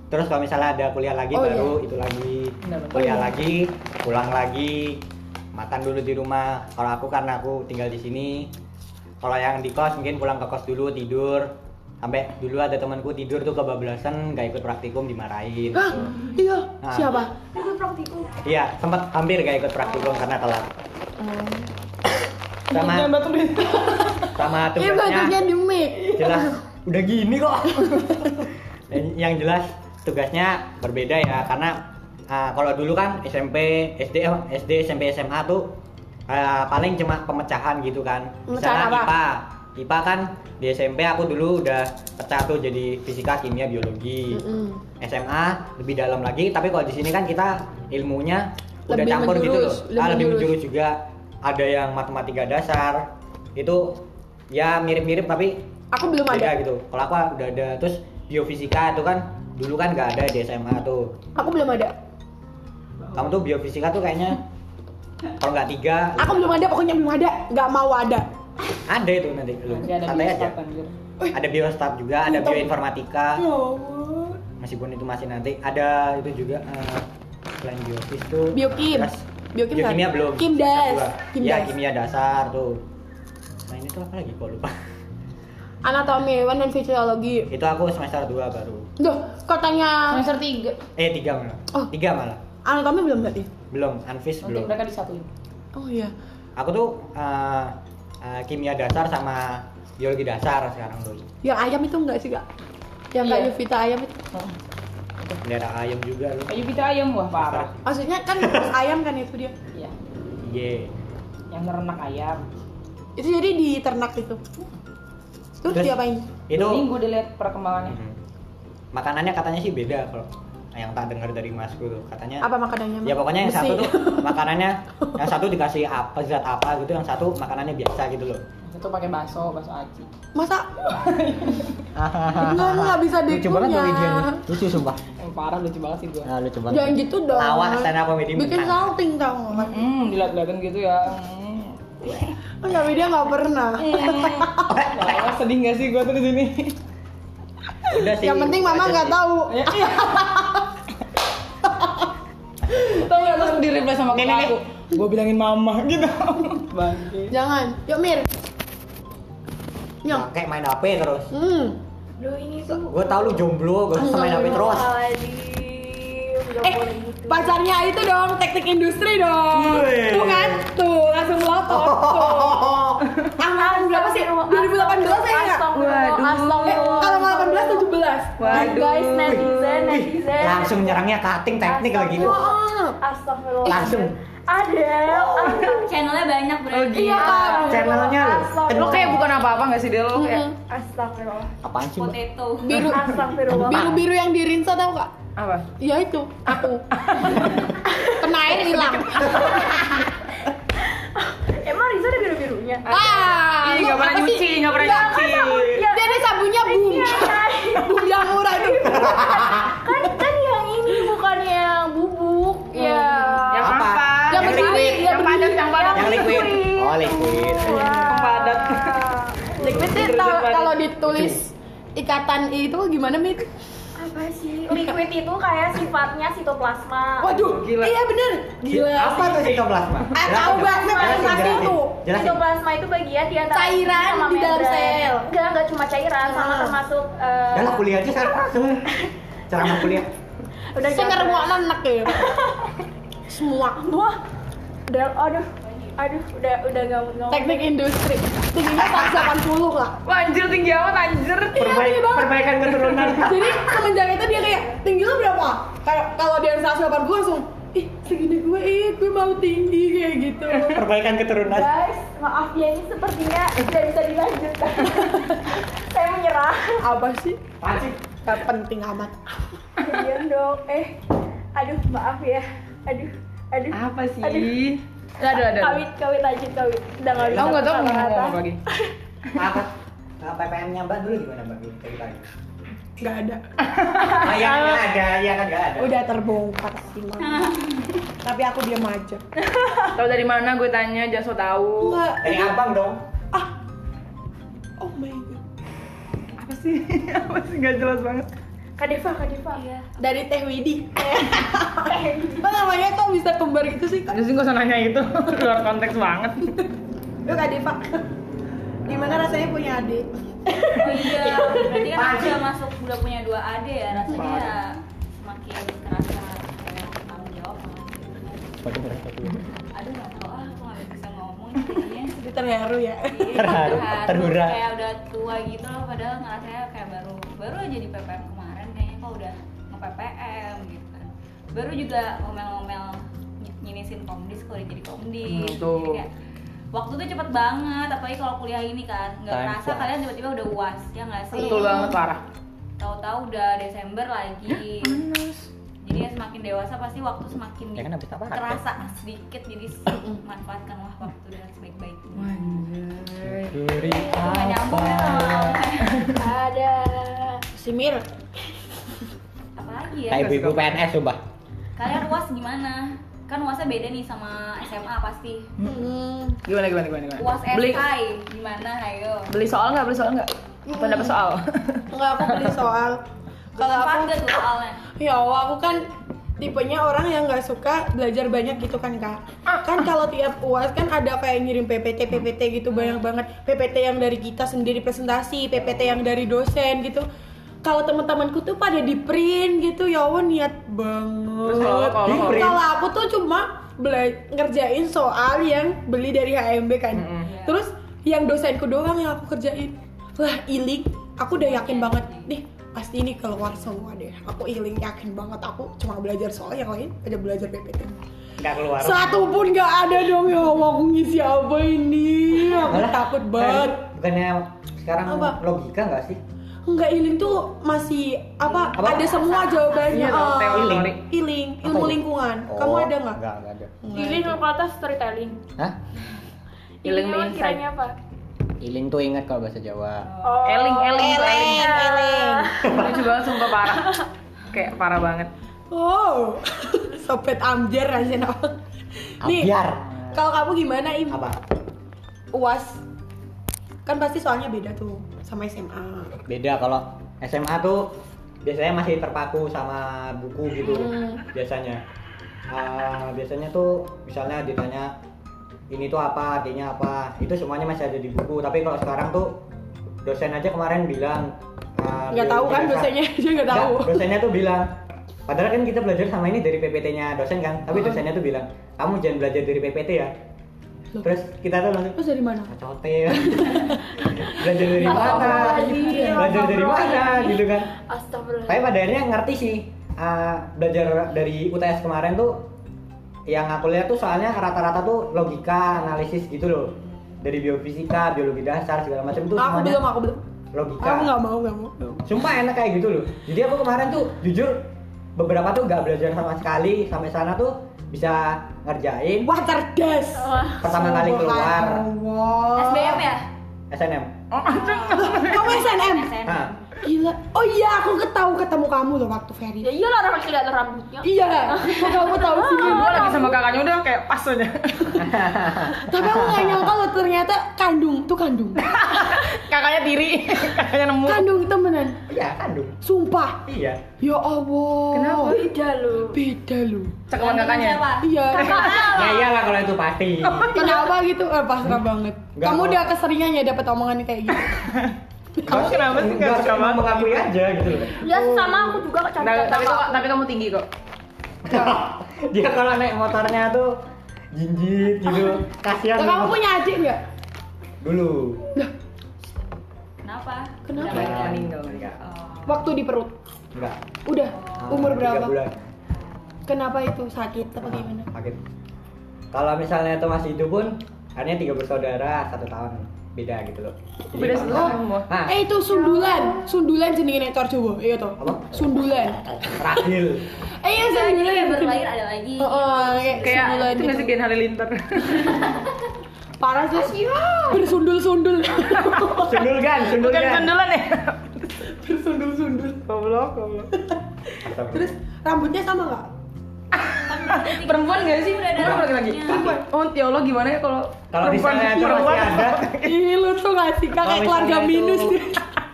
Speaker 4: terus kalau misalnya ada kuliah lagi
Speaker 2: Oh,
Speaker 4: baru itu lagi
Speaker 5: Benar, benar.
Speaker 4: kuliah lagi pulang lagi makan dulu di rumah kalau aku karena aku tinggal di sini kalau yang di kos mungkin pulang ke kos dulu tidur sampai dulu ada temanku tidur tuh kebablasan nggak ikut praktikum dimarahin
Speaker 2: Hah?
Speaker 4: gitu.
Speaker 2: Iya.
Speaker 4: Nah.
Speaker 2: Siapa?
Speaker 4: iya sempat hampir nggak ikut praktikum karena telat
Speaker 2: Oh.
Speaker 4: sama
Speaker 5: Jangan batu deh.
Speaker 4: sama
Speaker 2: Iya batuknya
Speaker 4: tugasnya
Speaker 2: di mic.
Speaker 4: jelas udah gini kok Dan yang jelas tugasnya berbeda ya karena ah, kalau dulu kan SMP SD eh, SD SMP SMA tuh ah, paling cuma pemecahan gitu kan
Speaker 2: Pemecahan
Speaker 4: misalnya
Speaker 2: apa?
Speaker 4: IPA IPA kan di SMP aku dulu udah pecah tuh jadi fisika kimia biologi
Speaker 2: Mm-mm.
Speaker 4: SMA lebih dalam lagi tapi kalau di sini kan kita ilmunya udah
Speaker 2: Lebih
Speaker 4: campur gitu loh
Speaker 2: menjurus,
Speaker 4: Ah,
Speaker 2: lebih
Speaker 4: lebih
Speaker 2: menjurus.
Speaker 4: menjurus juga ada yang matematika dasar itu ya mirip-mirip tapi
Speaker 2: Aku belum
Speaker 4: beda
Speaker 2: ada.
Speaker 4: gitu kalau aku udah ada terus biofisika itu kan dulu kan nggak ada di SMA tuh
Speaker 2: Aku belum ada.
Speaker 4: kamu tuh biofisika tuh kayaknya kalau nggak tiga
Speaker 2: Aku belum ada pokoknya belum ada. Gak mau ada.
Speaker 4: ada itu nanti lu
Speaker 5: Gak ada
Speaker 4: santai aja
Speaker 5: kesempatan, gitu.
Speaker 4: ada biostat juga ada
Speaker 2: Untung.
Speaker 4: bioinformatika
Speaker 2: Ya Allah.
Speaker 4: meskipun itu masih nanti ada itu juga eh, selain biofis tuh
Speaker 2: Biokim.
Speaker 4: Terus,
Speaker 2: Biokim kan?
Speaker 4: biokimia belum
Speaker 2: Kimdas.
Speaker 4: Dua. ya
Speaker 2: Kimdas.
Speaker 4: kimia dasar tuh nah ini tuh apa lagi kok lupa
Speaker 2: Anatomi hewan dan fisiologi.
Speaker 4: itu aku semester 2 baru
Speaker 2: Duh, katanya
Speaker 5: Semester 3.
Speaker 4: eh tiga malah
Speaker 2: Oh.
Speaker 4: tiga malah
Speaker 2: anatomi belum berarti?
Speaker 4: belum anfis
Speaker 5: Nanti
Speaker 4: belum
Speaker 5: mereka disatuin.
Speaker 2: Oh iya.
Speaker 4: aku tuh eh, eh, kimia dasar sama biologi dasar sekarang dulu
Speaker 2: Yang Ya, ayam itu enggak sih, Kak? Yang
Speaker 5: Iya.
Speaker 2: kayak Yuvita ayam itu.
Speaker 4: bendera ayam juga lu
Speaker 5: Oh, Ayo kita ayam wah parah.
Speaker 2: Maksudnya kan kukus ayam kan itu dia.
Speaker 5: Iya.
Speaker 4: iya
Speaker 5: Yang nerenak ayam.
Speaker 2: Itu jadi di ternak itu. Terus
Speaker 4: Terus-
Speaker 2: diapain?
Speaker 4: itu
Speaker 5: Minggu dilihat perkembangannya.
Speaker 4: Mhm. makanannya katanya sih beda kalau yang tak dengar dari masku tuh katanya
Speaker 2: Apa makanannya?
Speaker 4: ya pokoknya yang
Speaker 2: Besi.
Speaker 4: satu tuh makanannya yang satu dikasih apa zat apa gitu yang satu makanannya biasa gitu loh
Speaker 5: Itu pakai bakso, bakso aci.
Speaker 2: Masa Enggak, enggak bisa
Speaker 4: Nah, lucu banget tuh
Speaker 2: dikunyah.
Speaker 4: videonya lucu sumpah
Speaker 5: Eh, parah lucu banget sih gua.
Speaker 4: nah, lucu banget
Speaker 2: jangan gitu dong.
Speaker 4: lawak stand up comedy
Speaker 2: Bikin
Speaker 4: mentang.
Speaker 2: salting tau nggak?
Speaker 5: Hmm, dilihat-lihatan gitu ya. Hmm.
Speaker 2: Enggak, Oh, dia nggak pernah.
Speaker 4: Iya,
Speaker 5: Wah, sedih gak sih gua tuh di sini?
Speaker 4: udah sih
Speaker 2: Yang penting mama
Speaker 4: aja
Speaker 2: nggak
Speaker 4: iya. sih.
Speaker 2: tahu.
Speaker 5: Iya. Tahu nggak terus di reply sama
Speaker 4: Nih,
Speaker 5: kakak
Speaker 4: nih,
Speaker 5: aku. Gua bilangin mama gitu. Bangke.
Speaker 2: Jangan. Yuk Mir. Nyok.
Speaker 4: kayak main HP terus
Speaker 2: Hmm.
Speaker 9: Duh ini tuh
Speaker 4: gue tau lu jomblo gue suka main HP terus
Speaker 9: Astagfirullahaladzim. Gak
Speaker 2: Eh,
Speaker 9: boleh gitu.
Speaker 2: pacarnya itu dong teknik industri dong.
Speaker 4: Wih. Oh.
Speaker 2: Tuh kan? Tuh, langsung melotot. Tuh. Angkatan berapa sih? 2018 ya enggak? Eh, kalau nggak 18 17.
Speaker 9: Waduh. Guys, netizen,
Speaker 4: Wih,
Speaker 9: netizen.
Speaker 4: langsung nyerangnya cutting teknik lagi
Speaker 2: Wah.
Speaker 9: Astagfirullah.
Speaker 4: Langsung.
Speaker 9: Ada. ada.
Speaker 7: Nah, Channelnya banyak
Speaker 5: Oh, gitu.
Speaker 7: berarti.
Speaker 9: Iya, Kak.
Speaker 4: channelnya lu.
Speaker 9: Astagfirullah.
Speaker 5: Lo kayak bukan apa-apa gak sih dia lo kayak
Speaker 9: Astagfirullah.
Speaker 4: apaan sih Mbak?
Speaker 7: Potato.
Speaker 2: Biru
Speaker 9: Astagfirullah.
Speaker 2: biru-biru yang di Rinsa tau nggak?
Speaker 5: apa?
Speaker 2: Ya itu, aku. Kena air hilang.
Speaker 9: Emang Riza ada biru-birunya?
Speaker 2: Ah, lu
Speaker 5: Ih, nggak Iya, pernah
Speaker 2: apa sih?
Speaker 5: nyuci, nggak pernah
Speaker 2: Nggak,
Speaker 5: nyuci.
Speaker 3: Iya.
Speaker 9: Ya,
Speaker 2: Dia ada sabunnya boom. boom yang murah itu.
Speaker 9: kan kan yang ini bukan yang bubuk ya
Speaker 5: Yang
Speaker 4: Apa?
Speaker 5: apa?
Speaker 2: Oh. Yang berdiri,
Speaker 5: liquid. yang padat, yang padat.
Speaker 4: yang liquid oh liquid
Speaker 5: Yang padat.
Speaker 2: Itu ta- kalau ditulis ikatan I itu gimana, Mit?
Speaker 9: apa sih liquid itu kayak sifatnya sitoplasma
Speaker 2: Waduh,
Speaker 5: Gila.
Speaker 2: iya bener.
Speaker 4: apa tuh sitoplasma
Speaker 2: Ah, tahu banget
Speaker 4: jelasin
Speaker 2: sitoplasma
Speaker 4: jelasin
Speaker 2: itu.
Speaker 4: jelasin
Speaker 9: sitoplasma itu bagian di antara
Speaker 2: Cairan
Speaker 9: sama
Speaker 2: di dalam
Speaker 9: membran.
Speaker 2: sel.
Speaker 9: enggak enggak cuma cairan sama termasuk eh,
Speaker 4: Udah lah kuliah aja sekarang langsung ceramah kuliah
Speaker 9: udah
Speaker 2: Saya
Speaker 9: jauh.
Speaker 2: ngeremuk anak ya. Semua
Speaker 9: wah udah aduh aduh udah udah nggak mau
Speaker 2: teknik industri. Tingginya 180 lah.
Speaker 5: Wah anjir tinggi amat anjir.
Speaker 4: Perbaik, perbaikan keturunan
Speaker 2: Jadi semenjak itu dia kayak tinggi lu berapa? Kayak kalau dia 180 langsung ih segini gue ih gue mau tinggi kayak gitu.
Speaker 4: perbaikan keturunan
Speaker 3: Iya.
Speaker 9: guys maaf ya ini sepertinya tidak bisa dilanjutkan saya menyerah
Speaker 2: Apa sih?
Speaker 4: Apaan sih?
Speaker 2: Gak penting amat.
Speaker 9: diam dong eh aduh maaf ya aduh aduh
Speaker 5: Apa
Speaker 9: Aduh.
Speaker 5: sih? Aduh, aduh.
Speaker 9: kawit kawit lanjut kawit udah nggak bisa
Speaker 5: Aku gak tau mau
Speaker 9: kata-kata.
Speaker 5: ngomong apa lagi.
Speaker 4: apa Nah, PPM-nya Mbak dulu gimana Mbak? Ceritanya.
Speaker 2: Gak ada.
Speaker 4: Ah, yang yang ada, yang kan nggak ada.
Speaker 2: Udah terbongkar sih Mama. Tapi aku diam aja.
Speaker 5: Tahu dari mana gue tanya, jangan so tahu.
Speaker 2: Enggak.
Speaker 4: Dari abang dong.
Speaker 2: Oh my god.
Speaker 5: Apa sih? Apa sih gak jelas banget.
Speaker 9: Kak Deva, Kak Deva. Iya.
Speaker 2: Dari Teh Widi. Apa namanya kok bisa kembar gitu sih? Kak?
Speaker 5: Terus gak usah nanya itu, luar konteks banget.
Speaker 2: Lu Kak Deva. Gimana rasanya punya adik?
Speaker 7: Oh iya, berarti kan aku udah masuk udah punya dua ade ya rasanya ya semakin kerasa kayak tanggung jawab. sama dia. Aduh nggak tahu ah, aku nggak bisa ngomong jadinya.
Speaker 2: Jadi terharu ya.
Speaker 7: Iya,
Speaker 4: Terharu,
Speaker 7: terharu.
Speaker 4: terhura.
Speaker 7: Kayak udah tua gitu loh, padahal ngerasanya kayak baru baru aja di PPM kemarin kayaknya kok udah nge PPM gitu kan. Baru juga ngomel-ngomel ny- nyinisin komdis kok udah jadi
Speaker 5: Hmm,
Speaker 7: komdis.
Speaker 5: tuh.
Speaker 7: Jadi kayak, waktu tuh cepet banget, apalagi kalau kuliah ini kan nggak
Speaker 4: Time
Speaker 7: ngerasa
Speaker 4: flies.
Speaker 7: kalian tiba-tiba udah uas ya nggak sih?
Speaker 5: Betul banget parah.
Speaker 7: Tahu-tahu udah Desember lagi. Jadi ya semakin dewasa pasti waktu semakin
Speaker 4: Ya kan habis apa?
Speaker 7: terasa sedikit jadi manfaatkanlah waktu dengan sebaik-baiknya.
Speaker 4: Duri
Speaker 7: Nggak nyambung ya sama
Speaker 9: Ada.
Speaker 2: Si Mir,
Speaker 7: apa lagi ya
Speaker 4: Kayak ibu-ibu PNS sumpah.
Speaker 7: kalian uas gimana kan uasnya beda nih sama SMA pasti
Speaker 5: Gimana, gimana, gimana, gimana?
Speaker 7: uas
Speaker 5: Beli,
Speaker 7: SI gimana ayo
Speaker 5: beli soal nggak? Beli soal nggak? Apa dapat soal?
Speaker 2: enggak aku beli soal. Kalau
Speaker 7: Bermanfaat
Speaker 2: aku
Speaker 7: nggak tuh soalnya
Speaker 2: Ya Allah, aku kan tipenya orang yang nggak suka belajar banyak gitu kan kak kan kalau tiap uas kan ada kayak ngirim PPT PPT gitu banyak banget PPT yang dari kita sendiri presentasi PPT yang dari dosen gitu kalau teman-temanku tuh pada di print gitu ya Allah niat banget
Speaker 5: Terus kalau lo- kalau lo-
Speaker 2: Di-print. kalau aku tuh cuma bela- ngerjain soal yang beli dari HMB kan
Speaker 5: Mm-mm.
Speaker 2: terus yang dosenku doang yang aku kerjain lah iling aku udah
Speaker 5: Iya.
Speaker 2: yakin banget nih pasti ini keluar semua deh aku iling yakin banget aku cuma belajar soal yang lain aja belajar PPT
Speaker 4: Enggak keluar.
Speaker 2: satu pun nggak ada dong ya Allah aku ngisi apa ini aku
Speaker 4: Malah,
Speaker 2: takut
Speaker 4: Bukan-
Speaker 2: banget
Speaker 4: Bukannya sekarang
Speaker 2: Apa?
Speaker 4: logika enggak sih?
Speaker 2: nggak healing tuh masih apa,
Speaker 5: Apa?
Speaker 2: ada semua jawabannya
Speaker 5: Iya dong,
Speaker 2: Eh,
Speaker 5: teori,
Speaker 2: healing.
Speaker 5: teori.
Speaker 2: healing ilmu
Speaker 4: itu?
Speaker 2: lingkungan kamu
Speaker 4: Oh,
Speaker 2: ada nggak
Speaker 4: Nggak, nggak ada.
Speaker 7: Ini kata storytelling.
Speaker 4: Hah?
Speaker 5: Healing
Speaker 7: Ini
Speaker 5: the
Speaker 7: emang
Speaker 5: inside.
Speaker 7: kiranya apa?
Speaker 4: Iling tuh ingat kalau bahasa Jawa.
Speaker 7: Oh,
Speaker 5: Eling, eling,
Speaker 7: eling.
Speaker 5: eling.
Speaker 7: Ah.
Speaker 5: Lucu banget sumpah parah. Kayak parah banget.
Speaker 2: oh sopet amjer rasanya nih
Speaker 4: Biar.
Speaker 2: kalau kamu gimana im
Speaker 4: Apa?
Speaker 2: uas kan pasti soalnya beda tuh sama SMA
Speaker 4: Beda kalau SMA tuh biasanya masih terpaku sama buku gitu
Speaker 2: Hmm.
Speaker 4: biasanya. Ah, biasanya tuh misalnya ditanya ini tuh apa artinya apa itu semuanya masih ada di buku tapi kalau sekarang tuh dosen aja kemarin bilang ah,
Speaker 2: nggak tahu kan
Speaker 4: biologi dasar-
Speaker 2: dosennya dia nggak tahu
Speaker 4: Nggak, dosennya tuh bilang padahal kan kita belajar sama ini dari PPT-nya dosen kan
Speaker 2: Oh.
Speaker 4: tapi dosennya tuh bilang kamu jangan belajar dari PPT ya terus kita tuh langsung
Speaker 2: terus dari mana
Speaker 4: cotel belajar dari mana belajar dari mana gitu kan
Speaker 7: Astagfirullah.
Speaker 4: tapi pada akhirnya ngerti sih Ah, belajar dari UTS kemarin tuh yang aku lihat tuh soalnya rata-rata tuh logika analisis gitu loh dari biofisika biologi dasar segala macam
Speaker 2: aku
Speaker 4: tuh semuanya
Speaker 2: belum aku belum
Speaker 4: logika
Speaker 2: aku nggak mau nggak mau
Speaker 4: Sumpah enak kayak gitu loh. Jadi aku kemarin tuh jujur beberapa tuh gak belajar sama sekali sampai sana tuh bisa ngerjain
Speaker 2: wah cerdas
Speaker 5: Oh.
Speaker 2: ya
Speaker 4: pertama kali keluar
Speaker 7: SBM ya?
Speaker 4: SNM.
Speaker 2: kamu SNM
Speaker 7: SN.
Speaker 4: Nah,
Speaker 2: gila Iya. oh iya aku ketahu ketemu kamu loh waktu Ferry
Speaker 7: Ya iyalah orang masih lihat rambutnya.
Speaker 2: iya kok kamu tahu sih
Speaker 5: Gue lagi sama kakaknya udah kayak pas aja.
Speaker 2: tapi aku nggak nyangka loh ternyata kandung tuh kandung
Speaker 5: kakaknya tiri, kakaknya nemu.
Speaker 2: kandung temenan
Speaker 4: iya kandung.
Speaker 2: sumpah
Speaker 4: Iya.
Speaker 2: ya allah
Speaker 3: Oh,
Speaker 5: Kenapa?
Speaker 7: Beda lu.
Speaker 2: beda loh
Speaker 5: Cekelan kakaknya.
Speaker 7: Siapa?
Speaker 2: iya
Speaker 4: Ya iyalah kalau itu pasti.
Speaker 2: kenapa gitu eh pasrah banget
Speaker 4: Nggak
Speaker 2: kamu
Speaker 4: mau.
Speaker 2: udah keseringan ya dapat omongan kayak gitu
Speaker 5: Kamu kenapa sih nggak suka
Speaker 4: mau
Speaker 5: banget?
Speaker 4: mengakui aja gitu loh.
Speaker 7: Ya sama aku juga
Speaker 5: Oh. Nah,
Speaker 7: kecantikan
Speaker 5: tapi kok
Speaker 7: kakak.
Speaker 5: tapi kamu tinggi kok.
Speaker 4: Dia kalau naik motornya tuh jinjit gitu. Kasihan.
Speaker 2: Lah, kamu
Speaker 4: loh.
Speaker 2: punya adik nggak
Speaker 4: Dulu.
Speaker 7: Kenapa?
Speaker 2: Kenapa?
Speaker 4: Nah,
Speaker 7: Udah balik.
Speaker 4: meninggal mereka.
Speaker 7: Oh.
Speaker 2: waktu di perut
Speaker 4: Enggak.
Speaker 2: udah
Speaker 4: Ah,
Speaker 2: umur
Speaker 4: tiga
Speaker 2: berapa
Speaker 4: bulan.
Speaker 2: kenapa itu sakit apa gimana
Speaker 4: Sakit. Kalau misalnya itu masih hidup pun, akhirnya tiga bersaudara satu tahun beda gitu loh. Jadi
Speaker 5: Beda
Speaker 4: kalau
Speaker 5: setahun
Speaker 4: misalnya-
Speaker 5: semua.
Speaker 4: Nah,
Speaker 2: Eh itu sundulan, sundulan jenenge nektar Jawa. Iya toh.
Speaker 4: Apa?
Speaker 2: Sundulan.
Speaker 4: rahil.
Speaker 2: Eh iya sundulan.
Speaker 7: Kayak berlayar ada lagi.
Speaker 2: Heeh, kayak sundulan
Speaker 5: Kayak itu nggak
Speaker 2: gitu.
Speaker 5: sih Gen Halilintar?
Speaker 2: Parah sih. Bersundul-sundul.
Speaker 4: Sundul kan, sundul
Speaker 5: Bukan
Speaker 4: kan.
Speaker 5: sundulan ya?
Speaker 2: Bersundul-sundul.
Speaker 5: Goblok, goblok.
Speaker 4: Terus
Speaker 2: Rambutnya sama enggak?
Speaker 5: Perempuan nggak sih?
Speaker 7: Udah ada
Speaker 5: Perempuan lagi-lagi. Perempuan. Oh, ya Allah gimana ya kalau
Speaker 4: kalau
Speaker 5: perempuan
Speaker 4: misalnya itu masih ada,
Speaker 2: Ih, lu tuh nggak sih kakek
Speaker 4: kalau misalnya
Speaker 2: keluarga
Speaker 4: itu
Speaker 2: minus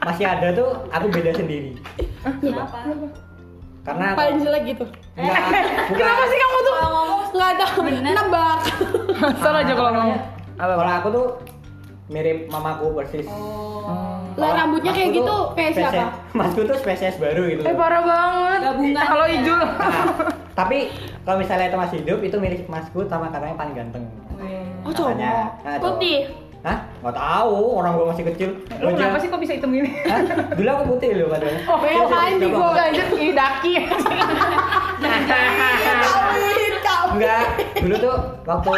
Speaker 4: Masih ada tuh aku beda sendiri.
Speaker 7: Kenapa?
Speaker 4: Karena aku,
Speaker 2: Paling jelek gitu.
Speaker 4: enggak, bukan.
Speaker 5: Kenapa sih kamu tuh?
Speaker 2: Enggak tahu nebak.
Speaker 5: Salah aja kalau ngomong. Apa?
Speaker 4: Kalau aku tuh mirip mamaku persis. Kalau
Speaker 2: Oh. Lah rambutnya kayak
Speaker 4: masku
Speaker 2: gitu
Speaker 4: tuh
Speaker 2: kayak
Speaker 4: spesies-
Speaker 2: siapa?
Speaker 4: Masku tuh spesies baru gitu.
Speaker 5: Eh
Speaker 4: loh.
Speaker 5: parah banget.
Speaker 7: Gabungan.
Speaker 5: Halo Oh, Ijul.
Speaker 4: Nah, tapi kalau misalnya itu masih hidup itu mirip masku sama karena yang paling ganteng.
Speaker 2: Oh, cowok.
Speaker 4: Katanya, nah, cowok.
Speaker 7: Putih.
Speaker 4: Hah? Nggak tahu, orang gua masih kecil.
Speaker 5: Lu
Speaker 4: Gua
Speaker 5: kenapa
Speaker 4: jalan-
Speaker 5: sih kok bisa hitam gini?
Speaker 4: Hah? Dulu aku putih loh Iya, padahal.
Speaker 5: Oh,
Speaker 2: Kayak lain di gua.
Speaker 5: lanjut ini daki.
Speaker 2: Kawin, kawin.
Speaker 4: Enggak, dulu tuh waktu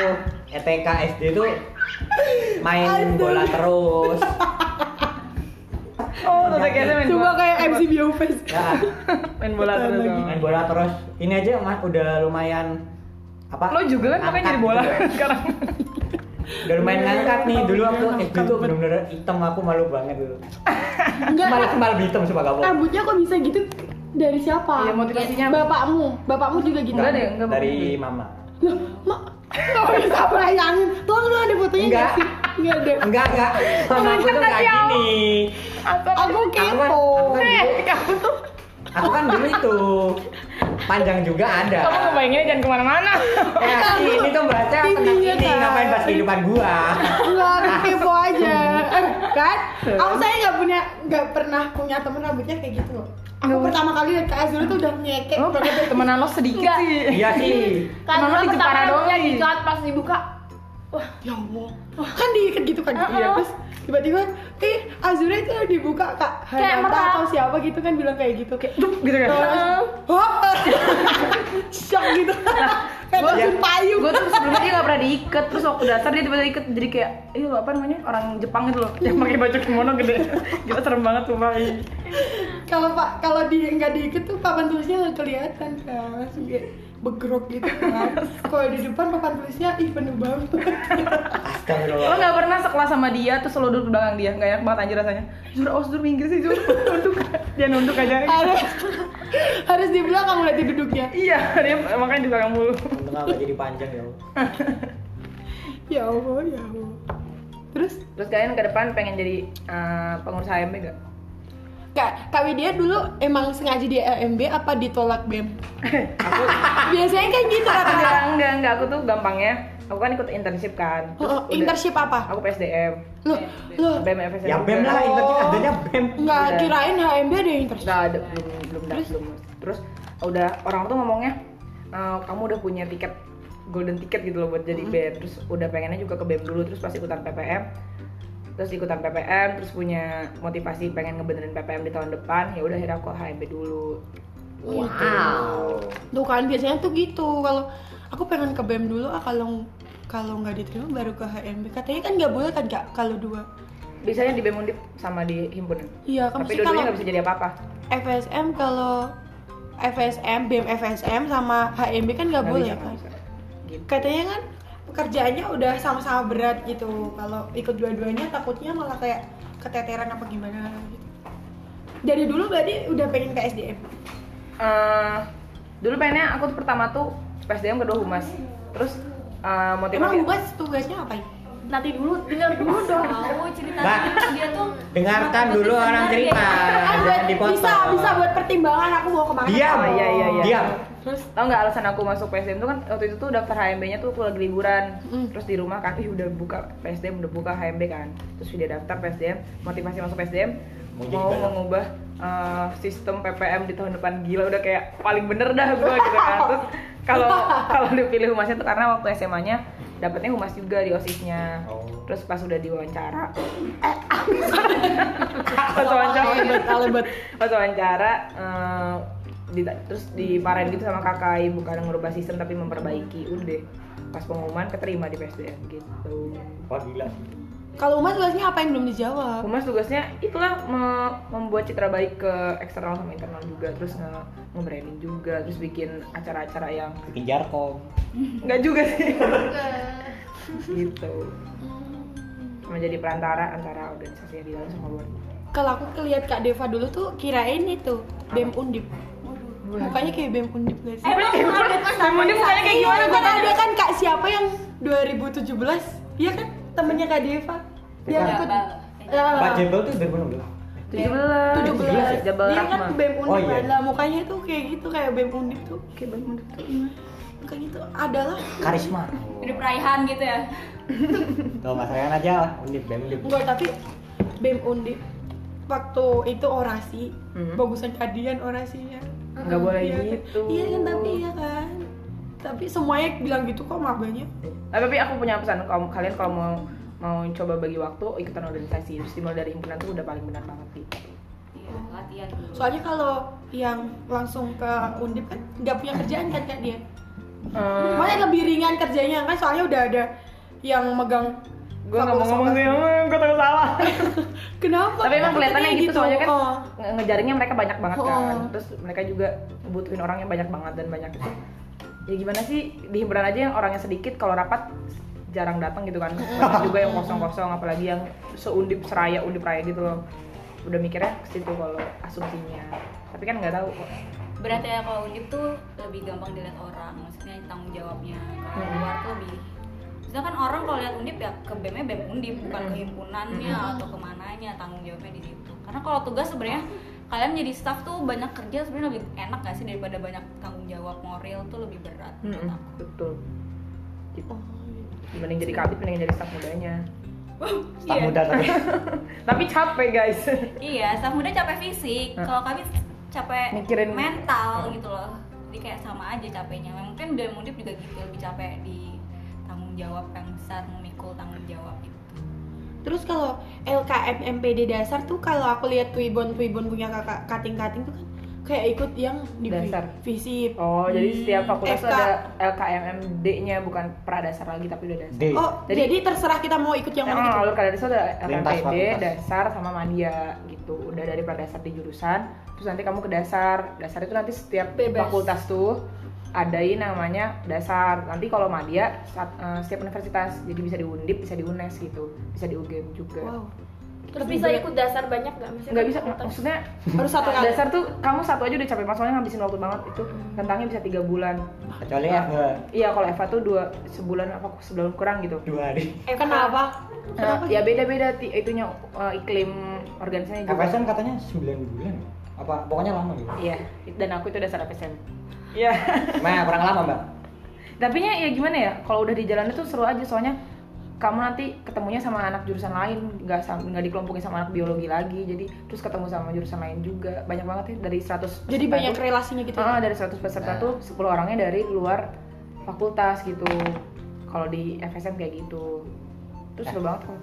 Speaker 4: E ETK SD tuh main
Speaker 2: Aduh.
Speaker 4: bola terus.
Speaker 5: Oh, tuh kayaknya main
Speaker 2: Coba
Speaker 5: bola.
Speaker 2: kayak MC Biofest.
Speaker 4: Nah,
Speaker 5: main bola terus. dong.
Speaker 4: main bola terus. Ini aja Mas udah lumayan apa?
Speaker 5: Lo juga kan makanya jadi
Speaker 4: angkat
Speaker 5: bola
Speaker 4: gitu.
Speaker 5: sekarang.
Speaker 4: Udah lumayan ngangkat nih dulu waktu SD tuh bener-bener hitam aku malu banget dulu.
Speaker 2: Enggak.
Speaker 4: Malah malah hitam sama kamu.
Speaker 2: Rambutnya kok bisa gitu dari siapa?
Speaker 5: Iya, motivasinya apa?
Speaker 2: Bapakmu, bapakmu juga gitu.
Speaker 5: Enggak
Speaker 4: ya?
Speaker 5: deh, enggak
Speaker 4: Dari
Speaker 5: mungkin.
Speaker 4: mama.
Speaker 2: Loh, mak, nggak bisa bayangin. Tolong lu ada fotonya
Speaker 4: Enggak.
Speaker 2: nggak sih? Enggak ada.
Speaker 4: Enggak, enggak. Mama aku tuh enggak gini.
Speaker 2: Aku
Speaker 4: Aku kan,
Speaker 2: kepo.
Speaker 4: aku kan dulu, aku kan dulu itu panjang juga ada.
Speaker 5: Kamu ngebayanginnya jangan kemana-mana.
Speaker 4: Eh, si ini tuh baca tentang
Speaker 2: Tingginya,
Speaker 4: ini
Speaker 2: Kak.
Speaker 4: ngapain pas kehidupan gua.
Speaker 2: Enggak, aku kepo aja. Eh, kan? Aku saya nggak punya, nggak pernah punya temen rambutnya kayak gitu loh. Aku pertama kali lihat Kak Azul tuh
Speaker 3: Oh,
Speaker 2: udah nyekek
Speaker 5: Lo
Speaker 2: banget.
Speaker 5: temenan lo sedikit
Speaker 7: Enggak.
Speaker 5: sih.
Speaker 4: Iya sih.
Speaker 7: Kan
Speaker 5: Mama
Speaker 7: dulu
Speaker 5: di
Speaker 7: pertama
Speaker 5: Jepara doang
Speaker 7: rambutnya
Speaker 5: sih.
Speaker 7: dicat pas dibuka.
Speaker 2: Ya Allah. Kan diikat gitu kan. Iya, terus tiba-tiba eh Azura itu dibuka Kak
Speaker 7: Kayak
Speaker 2: Hanata
Speaker 7: merah.
Speaker 2: atau siapa gitu kan bilang kayak gitu. Kayak
Speaker 5: Dup gitu kan.
Speaker 2: Hah? Shock gitu. Kayak
Speaker 4: Iya.
Speaker 2: langsung payung.
Speaker 5: gue tuh sebelumnya dia nggak pernah diikat terus waktu dasar dia tiba-tiba ikat jadi kayak ini lo apa namanya orang Jepang itu loh yang pakai baju kimono gede gila serem banget tuh pak
Speaker 2: kalau pak kalau di nggak diikat tuh papan tulisnya nggak kelihatan kan langsung kayak begrok gitu kan kalau di depan papan tulisnya ih penuh banget
Speaker 5: lo
Speaker 4: Astagfirullah.
Speaker 5: nggak pernah sekelas sama dia terus lo duduk di belakang dia nggak enak banget anjir rasanya Zur, oh Zur minggir sih Zur nunduk dia nunduk aja
Speaker 2: harus harus di belakang berarti duduknya
Speaker 5: iya dia makanya di belakang mulu
Speaker 4: Untung aku nggak jadi panjang ya. Allah.
Speaker 2: ya allah ya allah terus
Speaker 5: terus kalian ke depan pengen jadi eh, pengurus HMB gak?
Speaker 2: Kak, Kak Widya dulu emang sengaja di LMB apa ditolak BEM? Biasanya kan gitu
Speaker 5: enggak,
Speaker 2: rata-rata.
Speaker 5: enggak, enggak, aku tuh gampangnya aku kan ikut internship kan
Speaker 2: Oh,
Speaker 5: terus
Speaker 2: oh,
Speaker 5: udah-
Speaker 2: internship apa?
Speaker 5: aku PSDM
Speaker 2: Loh, loh,
Speaker 5: BEM FSM
Speaker 4: Ya bem lah, internship adanya bem.
Speaker 2: nggak
Speaker 5: Udah.
Speaker 2: kirain HMB ada internship.
Speaker 5: Nggak ada, belum, belum, terus? belum Terus udah orang tuh ngomongnya "Eh, Kamu udah punya tiket golden ticket gitu loh buat jadi BEM Terus udah pengennya juga ke BEM dulu, terus pas ikutan PPM Terus ikutan PPM, terus punya motivasi pengen ngebenerin PPM di tahun depan ya udah akhirnya aku HMB dulu
Speaker 4: Wow.
Speaker 2: Tuh kan biasanya tuh gitu. Kalau aku pengen ke BEM dulu ah kalau kalau nggak diterima baru ke HMB. Katanya kan nggak boleh kan Kak kalau dua.
Speaker 5: Bisanya di BEM Undip sama di himpunan
Speaker 2: Iya, kan
Speaker 5: Tapi
Speaker 2: mesti kalau
Speaker 5: dua-duanya nggak bisa jadi apa-apa
Speaker 2: FSM kalau FSM, BEM FSM sama HMB kan nggak
Speaker 5: Nggak
Speaker 2: boleh kan.
Speaker 5: bisa, nggak bisa. Gitu.
Speaker 2: Katanya kan pekerjaannya udah sama-sama berat gitu. Kalau ikut dua-duanya takutnya malah kayak keteteran apa gimana gitu. Dari dulu berarti udah pengen ke SDM.
Speaker 5: Eh, dulu pengennya aku tuh pertama tuh PSDM kedua humas terus eh,
Speaker 2: Emang
Speaker 5: motivasi
Speaker 2: Humas tugasnya apa
Speaker 3: Nanti dulu, dengar dulu dong.
Speaker 4: Mbak.
Speaker 7: tahu ceritanya dia tuh
Speaker 4: Dengarkan dulu orang cerita, jangan dipotong.
Speaker 2: bisa bisa buat pertimbangan aku mau kemana
Speaker 4: Diam.
Speaker 5: Oh, iya, iya, iya.
Speaker 4: Diam.
Speaker 5: tau nggak alasan aku masuk PSDM tuh kan waktu itu tuh daftar HMB-nya tuh aku lagi liburan terus di rumah kan ih udah buka PSDM udah buka HMB kan terus video daftar PSDM motivasi masuk PSDM
Speaker 4: Mau jadi
Speaker 5: mau
Speaker 4: balap.
Speaker 5: mengubah eh, sistem PPM di tahun depan gila udah kayak paling bener dah gua gitu kan terus kalau kalau dipilih humasnya tuh karena waktu SMA-nya dapetnya humas juga di osisnya
Speaker 4: Oh.
Speaker 5: terus pas udah diwawancara pas wawancara pas wawancara eh, dita- terus dimarahin gitu sama KKI bukan ngubah sistem tapi memperbaiki udah deh pas pengumuman keterima di PSDM gitu
Speaker 4: Wah gila.
Speaker 2: kalau Humas tugasnya apa yang belum dijawab
Speaker 5: Humas tugasnya itulah me- membuat citra baik ke eksternal sama internal juga terus nge nge-branding juga terus bikin acara-acara yang
Speaker 4: Bikin jarkom.
Speaker 5: nggak juga sih gitu cuma jadi perantara antara organisasi yang di dalam sama luar
Speaker 2: kalau aku lihat Kak Deva dulu tuh kirain itu BEM Undip mukanya kayak BEM Undip guys
Speaker 7: eh belum ada
Speaker 5: Emang dia mukanya kayak gimana
Speaker 2: kan ada kan Kak siapa yang 2017 iya kan temennya Kak Deva dia
Speaker 4: Bukan.
Speaker 2: ikut
Speaker 4: Pak
Speaker 2: Ya,
Speaker 4: Jebel tuh 2016.
Speaker 5: 17
Speaker 2: 17
Speaker 5: Jabal
Speaker 2: dia kan
Speaker 5: Rahma
Speaker 2: BEM
Speaker 4: ya? Oh,
Speaker 2: Undip
Speaker 4: iya.
Speaker 2: lah mukanya tuh kayak gitu kayak BEM Undip tuh
Speaker 5: Oke, Bang, menurut aku.
Speaker 2: kayak gitu adalah
Speaker 4: Karisma.
Speaker 7: hidup
Speaker 5: Oh.
Speaker 7: raihan gitu ya
Speaker 4: Tuh Mas Ryan aja lah, undip bem undip.
Speaker 5: Iya.
Speaker 2: Enggak, tapi BEM Undip waktu itu orasi,
Speaker 5: Mhm.
Speaker 2: bagusan kadian orasinya.
Speaker 5: nggak boleh
Speaker 2: Iya kan?
Speaker 5: gitu
Speaker 2: Iya kan, tapi iya kan. Tapi semuanya bilang gitu kok mabanya.
Speaker 5: Nah, tapi aku punya pesan kalau kalian kalau mau mau coba bagi waktu ikutan organisasi terus dimulai dari himpunan tuh udah paling benar banget sih
Speaker 7: iya latihan dulu
Speaker 2: Soalnya kalau yang langsung ke Undip kan nggak punya kerjaan kan Kak Dian.
Speaker 5: Eh,
Speaker 2: Makanya lebih ringan kerjanya kan soalnya udah ada yang megang
Speaker 5: gue nggak mau ngomong sih gue takut salah
Speaker 2: Kenapa?
Speaker 5: tapi
Speaker 2: Takutnya
Speaker 5: emang kelihatannya gitu, soalnya kan
Speaker 2: Oh.
Speaker 5: nge- ngejaringnya mereka banyak banget kan
Speaker 2: Oh.
Speaker 5: terus mereka juga butuhin orang yang banyak banget dan banyak itu ya gimana sih di himpunan aja yang orangnya sedikit kalau rapat jarang datang gitu kan
Speaker 2: Mm.
Speaker 5: banyak juga yang kosong-kosong apalagi yang seundip seraya undip raya gitu loh udah mikirnya ke situ kalau asumsinya tapi kan nggak tahu
Speaker 7: berarti ya kalau undip tuh lebih gampang dilihat orang maksudnya tanggung jawabnya kalau
Speaker 5: Hmm.
Speaker 7: luar tuh lebih Maksudnya kan orang kalau lihat undip ya ke BEM-nya BEM undip bukan
Speaker 5: Hmm.
Speaker 7: ke himpunannya atau kemananya tanggung jawabnya di situ karena kalau tugas sebenarnya kalian jadi staff tuh banyak kerja sebenarnya lebih enak gak sih daripada banyak tanggung jawab moral tuh lebih berat menurut
Speaker 5: Hmm.
Speaker 7: aku.
Speaker 5: betul gitu.
Speaker 2: Oh, iya.
Speaker 5: dibanding jadi kabit mending jadi staff mudanya
Speaker 4: Staf
Speaker 7: Iya.
Speaker 4: muda tapi.
Speaker 5: tapi capek guys
Speaker 7: Iya, staff muda capek fisik.
Speaker 5: Hah?
Speaker 7: Kalau kami capek
Speaker 5: Hmm. Mikirin- Hmm.
Speaker 7: mental gitu loh. Jadi kayak sama aja capeknya. Mungkin dari mudip juga gitu lebih capek di tanggung jawab yang besar memikul tanggung jawab gitu.
Speaker 2: Terus kalau LKM MPD dasar tuh kalau aku lihat Twibbon Twibbon punya kakak kating-kating tuh kan kayak ikut yang di
Speaker 5: Dasar.
Speaker 4: Iya.
Speaker 2: visip
Speaker 5: Oh, jadi
Speaker 3: Hmm.
Speaker 5: setiap fakultas tuh
Speaker 2: FK.
Speaker 5: ada LKMMD-nya bukan pradasar lagi tapi udah dasar.
Speaker 4: D.
Speaker 2: oh
Speaker 5: Jadi- Nah.
Speaker 2: jadi, terserah kita mau ikut yang
Speaker 5: Yang
Speaker 2: mana
Speaker 5: mana
Speaker 2: gitu
Speaker 5: alur kadadasar ada
Speaker 4: Lintas
Speaker 5: LKMPD,
Speaker 4: fakultas.
Speaker 5: dasar sama Madia gitu. Udah dari pradasar di jurusan, terus nanti kamu ke dasar. Dasar itu nanti setiap
Speaker 3: Bebas.
Speaker 5: fakultas tuh adain namanya dasar. Nanti kalau Madia saat- eh, setiap universitas jadi bisa di Undip, bisa di UNES gitu, bisa di UGM juga.
Speaker 2: wow
Speaker 3: Terus bisa ikut dasar banyak nggak? Maksudnya
Speaker 5: nggak bisa
Speaker 3: fakultas?
Speaker 5: maksudnya
Speaker 2: harus satu kali
Speaker 5: dasar tuh kamu satu aja udah capek banget soalnya ngabisin waktu banget itu
Speaker 3: Hmm.
Speaker 5: rentangnya bisa tiga bulan
Speaker 4: Kecuali ya
Speaker 5: iya kalau Eva tuh dua sebulan apa sebulan kurang gitu
Speaker 4: dua hari.
Speaker 2: Eh, kenapa
Speaker 5: Nah, ya beda-beda ti- itunya uh, iklim organisasinya juga.
Speaker 4: KPSM katanya 9 bulan. ya? Apa pokoknya lama gitu.
Speaker 5: Iya, dan aku itu dasar PSM. Iya.
Speaker 4: Nah, kurang lama, Mbak.
Speaker 5: Tapi ya gimana ya, kalau udah di jalan itu seru aja soalnya kamu nanti ketemunya sama anak jurusan lain, nggak sam- nggak dikelompokin sama anak biologi lagi, jadi terus ketemu sama jurusan lain juga. Banyak banget ya dari 100
Speaker 2: jadi
Speaker 5: peserta
Speaker 2: banyak
Speaker 5: tuh-
Speaker 2: relasinya gitu
Speaker 5: Ah, dari 100 peserta
Speaker 4: Nah.
Speaker 5: tuh 10 orangnya dari luar fakultas gitu. Kalau di FSM kayak gitu. Terus seru banget kan.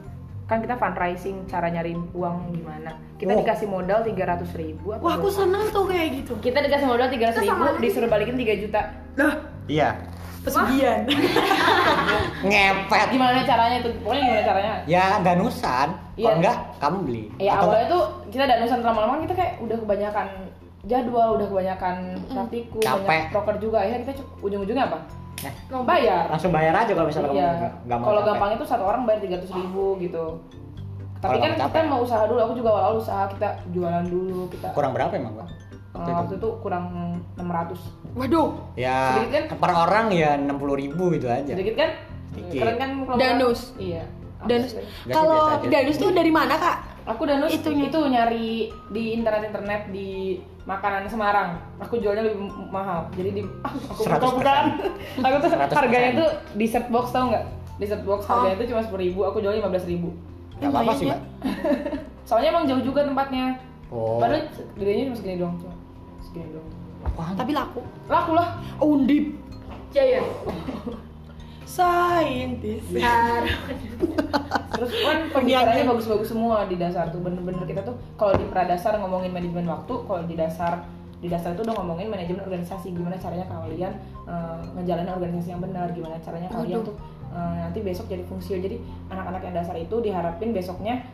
Speaker 5: Kan kita fundraising cara nyari uang gimana. Kita
Speaker 4: Wow.
Speaker 5: dikasih modal 300 ribu
Speaker 2: wah aku senang tuh kayak gitu
Speaker 5: Kita dikasih modal 300 ribu, disuruh balikin 3 juta.
Speaker 4: Iya.
Speaker 2: pesugihan
Speaker 4: Ngepet.
Speaker 5: Gimana caranya itu? Pokoknya gimana caranya?
Speaker 4: Ya danusan.
Speaker 5: Iya.
Speaker 4: Kalau enggak kamu beli.
Speaker 5: Ya
Speaker 4: Atau
Speaker 5: awalnya tuh kita danusan lama-lama kita kayak udah kebanyakan jadwal, udah kebanyakan praktikum,
Speaker 4: Capek.
Speaker 5: banyak proker juga. Akhirnya kita cu- ujung-ujungnya apa?
Speaker 4: Eh.
Speaker 5: Bayar.
Speaker 4: langsung bayar aja kalau misalnya
Speaker 5: Iya.
Speaker 4: kamu nggak mau.
Speaker 5: Kalau
Speaker 4: capek.
Speaker 5: gampang itu satu orang bayar 300 ribu gitu.
Speaker 4: Kalau
Speaker 5: Tapi kan
Speaker 4: nggak
Speaker 5: kita
Speaker 4: capek.
Speaker 5: mau usaha dulu, aku juga awal-awal usaha kita jualan dulu, kita
Speaker 4: kurang berapa emang, Mbak?
Speaker 5: eh, waktu itu kurang 600
Speaker 2: waduh
Speaker 4: Ya,
Speaker 5: Sedikit kan?
Speaker 4: per orang ya 60 ribu gitu aja.
Speaker 5: sedikit kan?
Speaker 4: Sedikit.
Speaker 5: Keren kan kalau-
Speaker 2: Danus.
Speaker 5: Iya.
Speaker 2: danus
Speaker 4: biasa
Speaker 2: kalau
Speaker 4: aja.
Speaker 2: danus tuh dari mana kak
Speaker 5: Aku danus itu,
Speaker 2: Itunya.
Speaker 5: itu nyari di internet-internet di makanan Semarang. Aku jualnya lebih m- mahal. Jadi di ah, aku
Speaker 4: 100%.
Speaker 5: bukan. aku tuh
Speaker 4: 100%.
Speaker 5: harganya tuh di set box tau nggak? Di set
Speaker 2: Oh.
Speaker 5: box harganya tuh cuma 10.000, aku jual 15.000.
Speaker 4: Gak apa-apa
Speaker 5: ya.
Speaker 4: sih, Mbak.
Speaker 5: Soalnya emang jauh juga tempatnya.
Speaker 4: Oh.
Speaker 5: Padahal gedenya cuma segini doang, cuma segini doang.
Speaker 4: Apaan?
Speaker 2: tapi laku
Speaker 5: Laku lah.
Speaker 2: undip
Speaker 3: Jaya.
Speaker 2: saintis
Speaker 5: Iya. Terus kan pembicaranya bagus-bagus semua di dasar tuh. Bener-bener kita tuh kalau di pradasar ngomongin manajemen waktu, kalau di dasar di dasar itu udah ngomongin manajemen organisasi gimana caranya kalian eh, ngejalanin organisasi yang benar, gimana caranya kalian tuh eh, nanti besok jadi fungsi. Jadi anak-anak yang dasar itu diharapin besoknya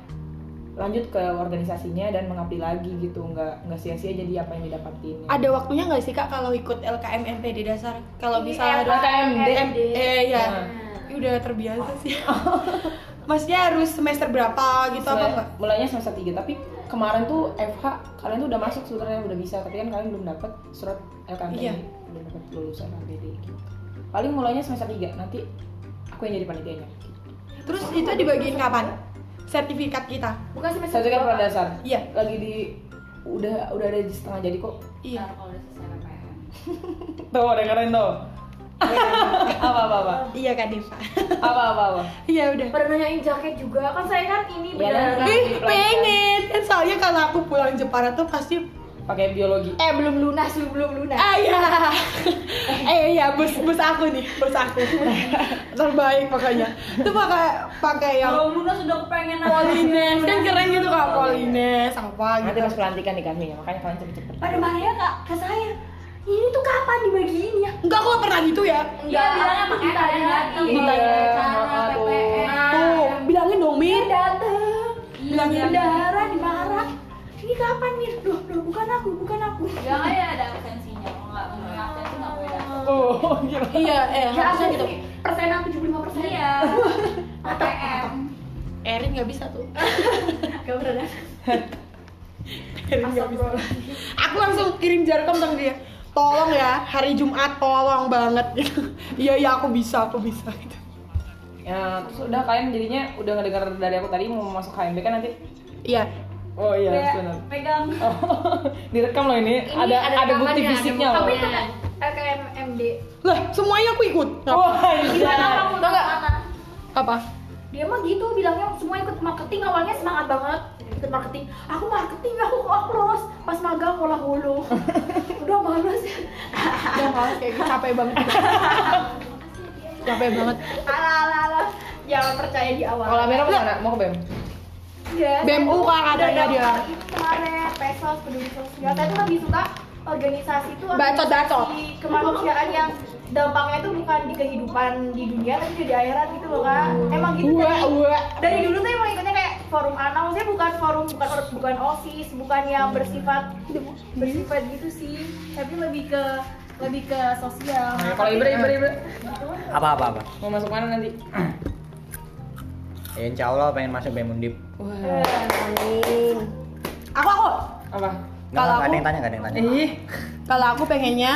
Speaker 5: lanjut ke organisasinya dan mengabdi lagi gitu nggak nggak sia-sia jadi apa yang didapatin
Speaker 2: ada waktunya nggak sih kak kalau ikut LKM MPD dasar
Speaker 5: Iya,
Speaker 2: kalau
Speaker 3: Ini
Speaker 2: bisa
Speaker 5: LKMD.
Speaker 2: eh ya
Speaker 5: Nah.
Speaker 2: Ya udah terbiasa sih maksudnya harus semester berapa gitu apa
Speaker 5: Mulai-
Speaker 2: enggak
Speaker 5: mulainya semester 3 tapi kemarin tuh FH kalian tuh udah masuk sebenarnya udah bisa tapi kan kalian belum dapet surat
Speaker 2: Iya.
Speaker 5: LKMPD belum dapet lulus LKMPD gitu paling mulainya semester 3 nanti aku yang jadi panitianya
Speaker 2: terus itu dibagiin kapan sertifikat kita
Speaker 3: Bukan
Speaker 5: satu
Speaker 3: semester
Speaker 5: kan
Speaker 3: dua, Pak.
Speaker 5: dasar
Speaker 2: iya
Speaker 5: lagi di udah udah ada di setengah jadi kok
Speaker 2: iya
Speaker 7: kalau udah selesai PPM
Speaker 5: tuh ada keren tuh apa apa apa
Speaker 2: iya kak Deva
Speaker 5: apa apa apa
Speaker 2: iya udah
Speaker 3: Pernah nanyain jaket juga kan saya kan ini
Speaker 5: Iya,
Speaker 3: benar.
Speaker 5: kan?
Speaker 2: Ih, pengen kan soalnya kalau aku pulang Jepara tuh pasti
Speaker 5: pakai biologi
Speaker 3: Eh belum lunas lu belum lunas.
Speaker 2: ayah iya. eh iya bus bus aku nih bus aku terbaik pokoknya itu pakai pakai yang
Speaker 7: kalau lunas udah kepengen
Speaker 2: Polines kan keren gitu kak Polines apa
Speaker 5: nanti
Speaker 2: gitu
Speaker 5: pas pelantikan nih kami makanya kalian cepet cepet
Speaker 3: Eh, Pada marahnya kak ke saya. Ini tuh kapan dibagiin ya?
Speaker 2: enggak aku nggak pernah gitu ya
Speaker 7: Iya, bilangnya
Speaker 3: aku
Speaker 7: makanya
Speaker 3: ditanya
Speaker 7: kalian
Speaker 3: lagi.
Speaker 7: datang.
Speaker 5: Ditanya,
Speaker 7: Rencana,
Speaker 5: maaf, tuh.
Speaker 7: PPM.
Speaker 2: Iya, tuh bilangin dong Min
Speaker 3: Dateng.
Speaker 2: Bilangin.
Speaker 3: Bendahara dimarah. Ini kapan nih? Duh, duh, bukan aku, bukan aku.
Speaker 7: Jangan ya ada absensinya. Kalau nggak punya absensi nggak boleh datang.
Speaker 5: tuh gila
Speaker 2: iya eh
Speaker 3: Ya,
Speaker 2: harusnya gitu
Speaker 3: Persen aku 75 persen.
Speaker 7: Iya. PPM.
Speaker 2: Erin nggak bisa tuh
Speaker 3: Gak pernah datang.
Speaker 2: Erin nggak bisa aku langsung kirim jarkom sama dia tolong ya hari Jumat tolong banget gitu iya iya aku bisa aku bisa gitu
Speaker 5: ya terus udah kalian jadinya udah ngedengar dari aku tadi mau masuk HMB kan nanti
Speaker 2: iya
Speaker 5: oh iya
Speaker 7: Kayak
Speaker 5: benar
Speaker 7: Pegang.
Speaker 5: direkam loh ini, ada ada, bukti fisiknya loh.
Speaker 3: Tapi itu kan LKMMD.
Speaker 2: lah semuanya aku ikut Oh.
Speaker 5: Wah, iya.
Speaker 3: Gimana kamu
Speaker 2: Tau
Speaker 3: tahu
Speaker 2: nggak?
Speaker 3: nggak?
Speaker 2: apa
Speaker 3: dia mah gitu bilangnya semua ikut marketing awalnya semangat banget ikut marketing aku marketing aku aku lolos pas magang olah hulu udah males
Speaker 2: udah males Ya, kayak gitu, capek banget capek banget
Speaker 3: ala ala ala jangan percaya di awal
Speaker 5: Kalau Amira mau mana? Mau ke BEM?
Speaker 3: Iya,
Speaker 2: BEM
Speaker 3: saya
Speaker 2: UKA
Speaker 3: udah
Speaker 2: katanya
Speaker 3: daftar
Speaker 2: dia.
Speaker 3: ini kemarin pesos peduli sosial saya tuh lebih suka
Speaker 9: organisasi itu
Speaker 2: Bacot, bacot.
Speaker 9: organisasi kemanusiaan yang dampaknya itu bukan di kehidupan di dunia tapi di akhirat gitu loh kak emang gitu
Speaker 2: Wah,
Speaker 9: dari,
Speaker 2: wah.
Speaker 9: dari dulu tuh emang ikutnya kayak forum
Speaker 3: nah,
Speaker 9: anak maksudnya bukan forum bukan bukan osis bukan yang bersifat bersifat gitu sih tapi lebih ke lebih ke sosial
Speaker 5: Nah, kalau Ibra, Ibra, Ibra
Speaker 4: Apa apa apa?
Speaker 5: mau masuk mana nanti?
Speaker 4: Ya, insya Allah pengen masuk BEM Undip.
Speaker 5: Wah,
Speaker 1: Amin.
Speaker 2: Aku aku
Speaker 5: apa?
Speaker 4: Nggak,
Speaker 2: Kalau
Speaker 4: nggak ada
Speaker 2: aku- Iya.
Speaker 4: yang tanya, nggak ada yang tanya.
Speaker 5: Ih,
Speaker 2: kalau aku pengennya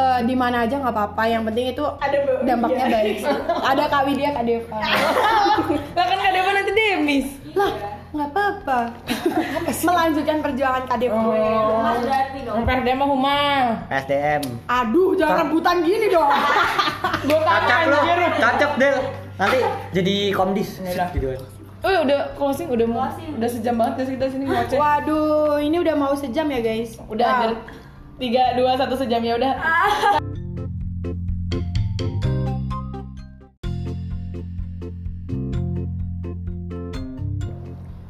Speaker 2: eh, di mana aja nggak apa-apa. Yang penting itu
Speaker 9: ada be-
Speaker 2: dampaknya baik. sih. Ada Kak Widya, Kak Deva.
Speaker 5: bahkan gak kan ada nanti demis.
Speaker 2: lah, nggak apa-apa. Melanjutkan perjuangan Kak Deva.
Speaker 5: Oh,
Speaker 7: Mas berarti dong.
Speaker 5: ngomper demo huma.
Speaker 4: SDM.
Speaker 2: Aduh, jangan rebutan gini dong.
Speaker 5: Gue
Speaker 4: Kacap
Speaker 5: kangen
Speaker 4: lo,
Speaker 5: anjir.
Speaker 4: kacap Del. Nanti jadi komdis.
Speaker 5: Ini lah.
Speaker 4: Gitu kan.
Speaker 5: Eh, udah closing, udah mau, udah sejam banget ya kita sini ngoceh.
Speaker 2: Waduh, ini udah mau sejam ya guys.
Speaker 5: Udah hampir tiga, dua, satu sejam ya udah.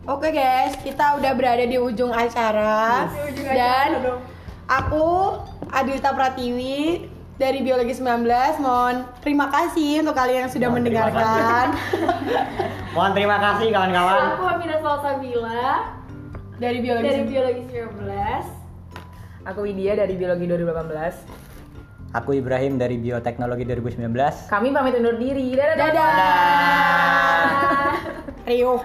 Speaker 2: Oke guys, kita udah berada di ujung acara dan aku Adilta Pratiwi dari Biologi 19 mohon terima kasih untuk kalian yang sudah
Speaker 4: Mohon terima
Speaker 2: mendengarkan
Speaker 4: Mohon terima kasih kawan-kawan.
Speaker 7: Iya, Aku Amira Salsabila
Speaker 5: Dari biologi.
Speaker 7: dari Biologi 19.
Speaker 5: Aku Widya dari biologi 2018.
Speaker 4: Aku Ibrahim dari Bioteknologi 2019.
Speaker 5: Kami pamit undur diri. Dadah.
Speaker 2: dadah Rio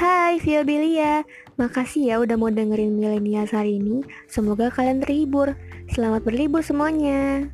Speaker 1: Hai Viabilia, makasih ya udah mau dengerin milenial hari ini. Semoga kalian terhibur. Selamat berlibur semuanya.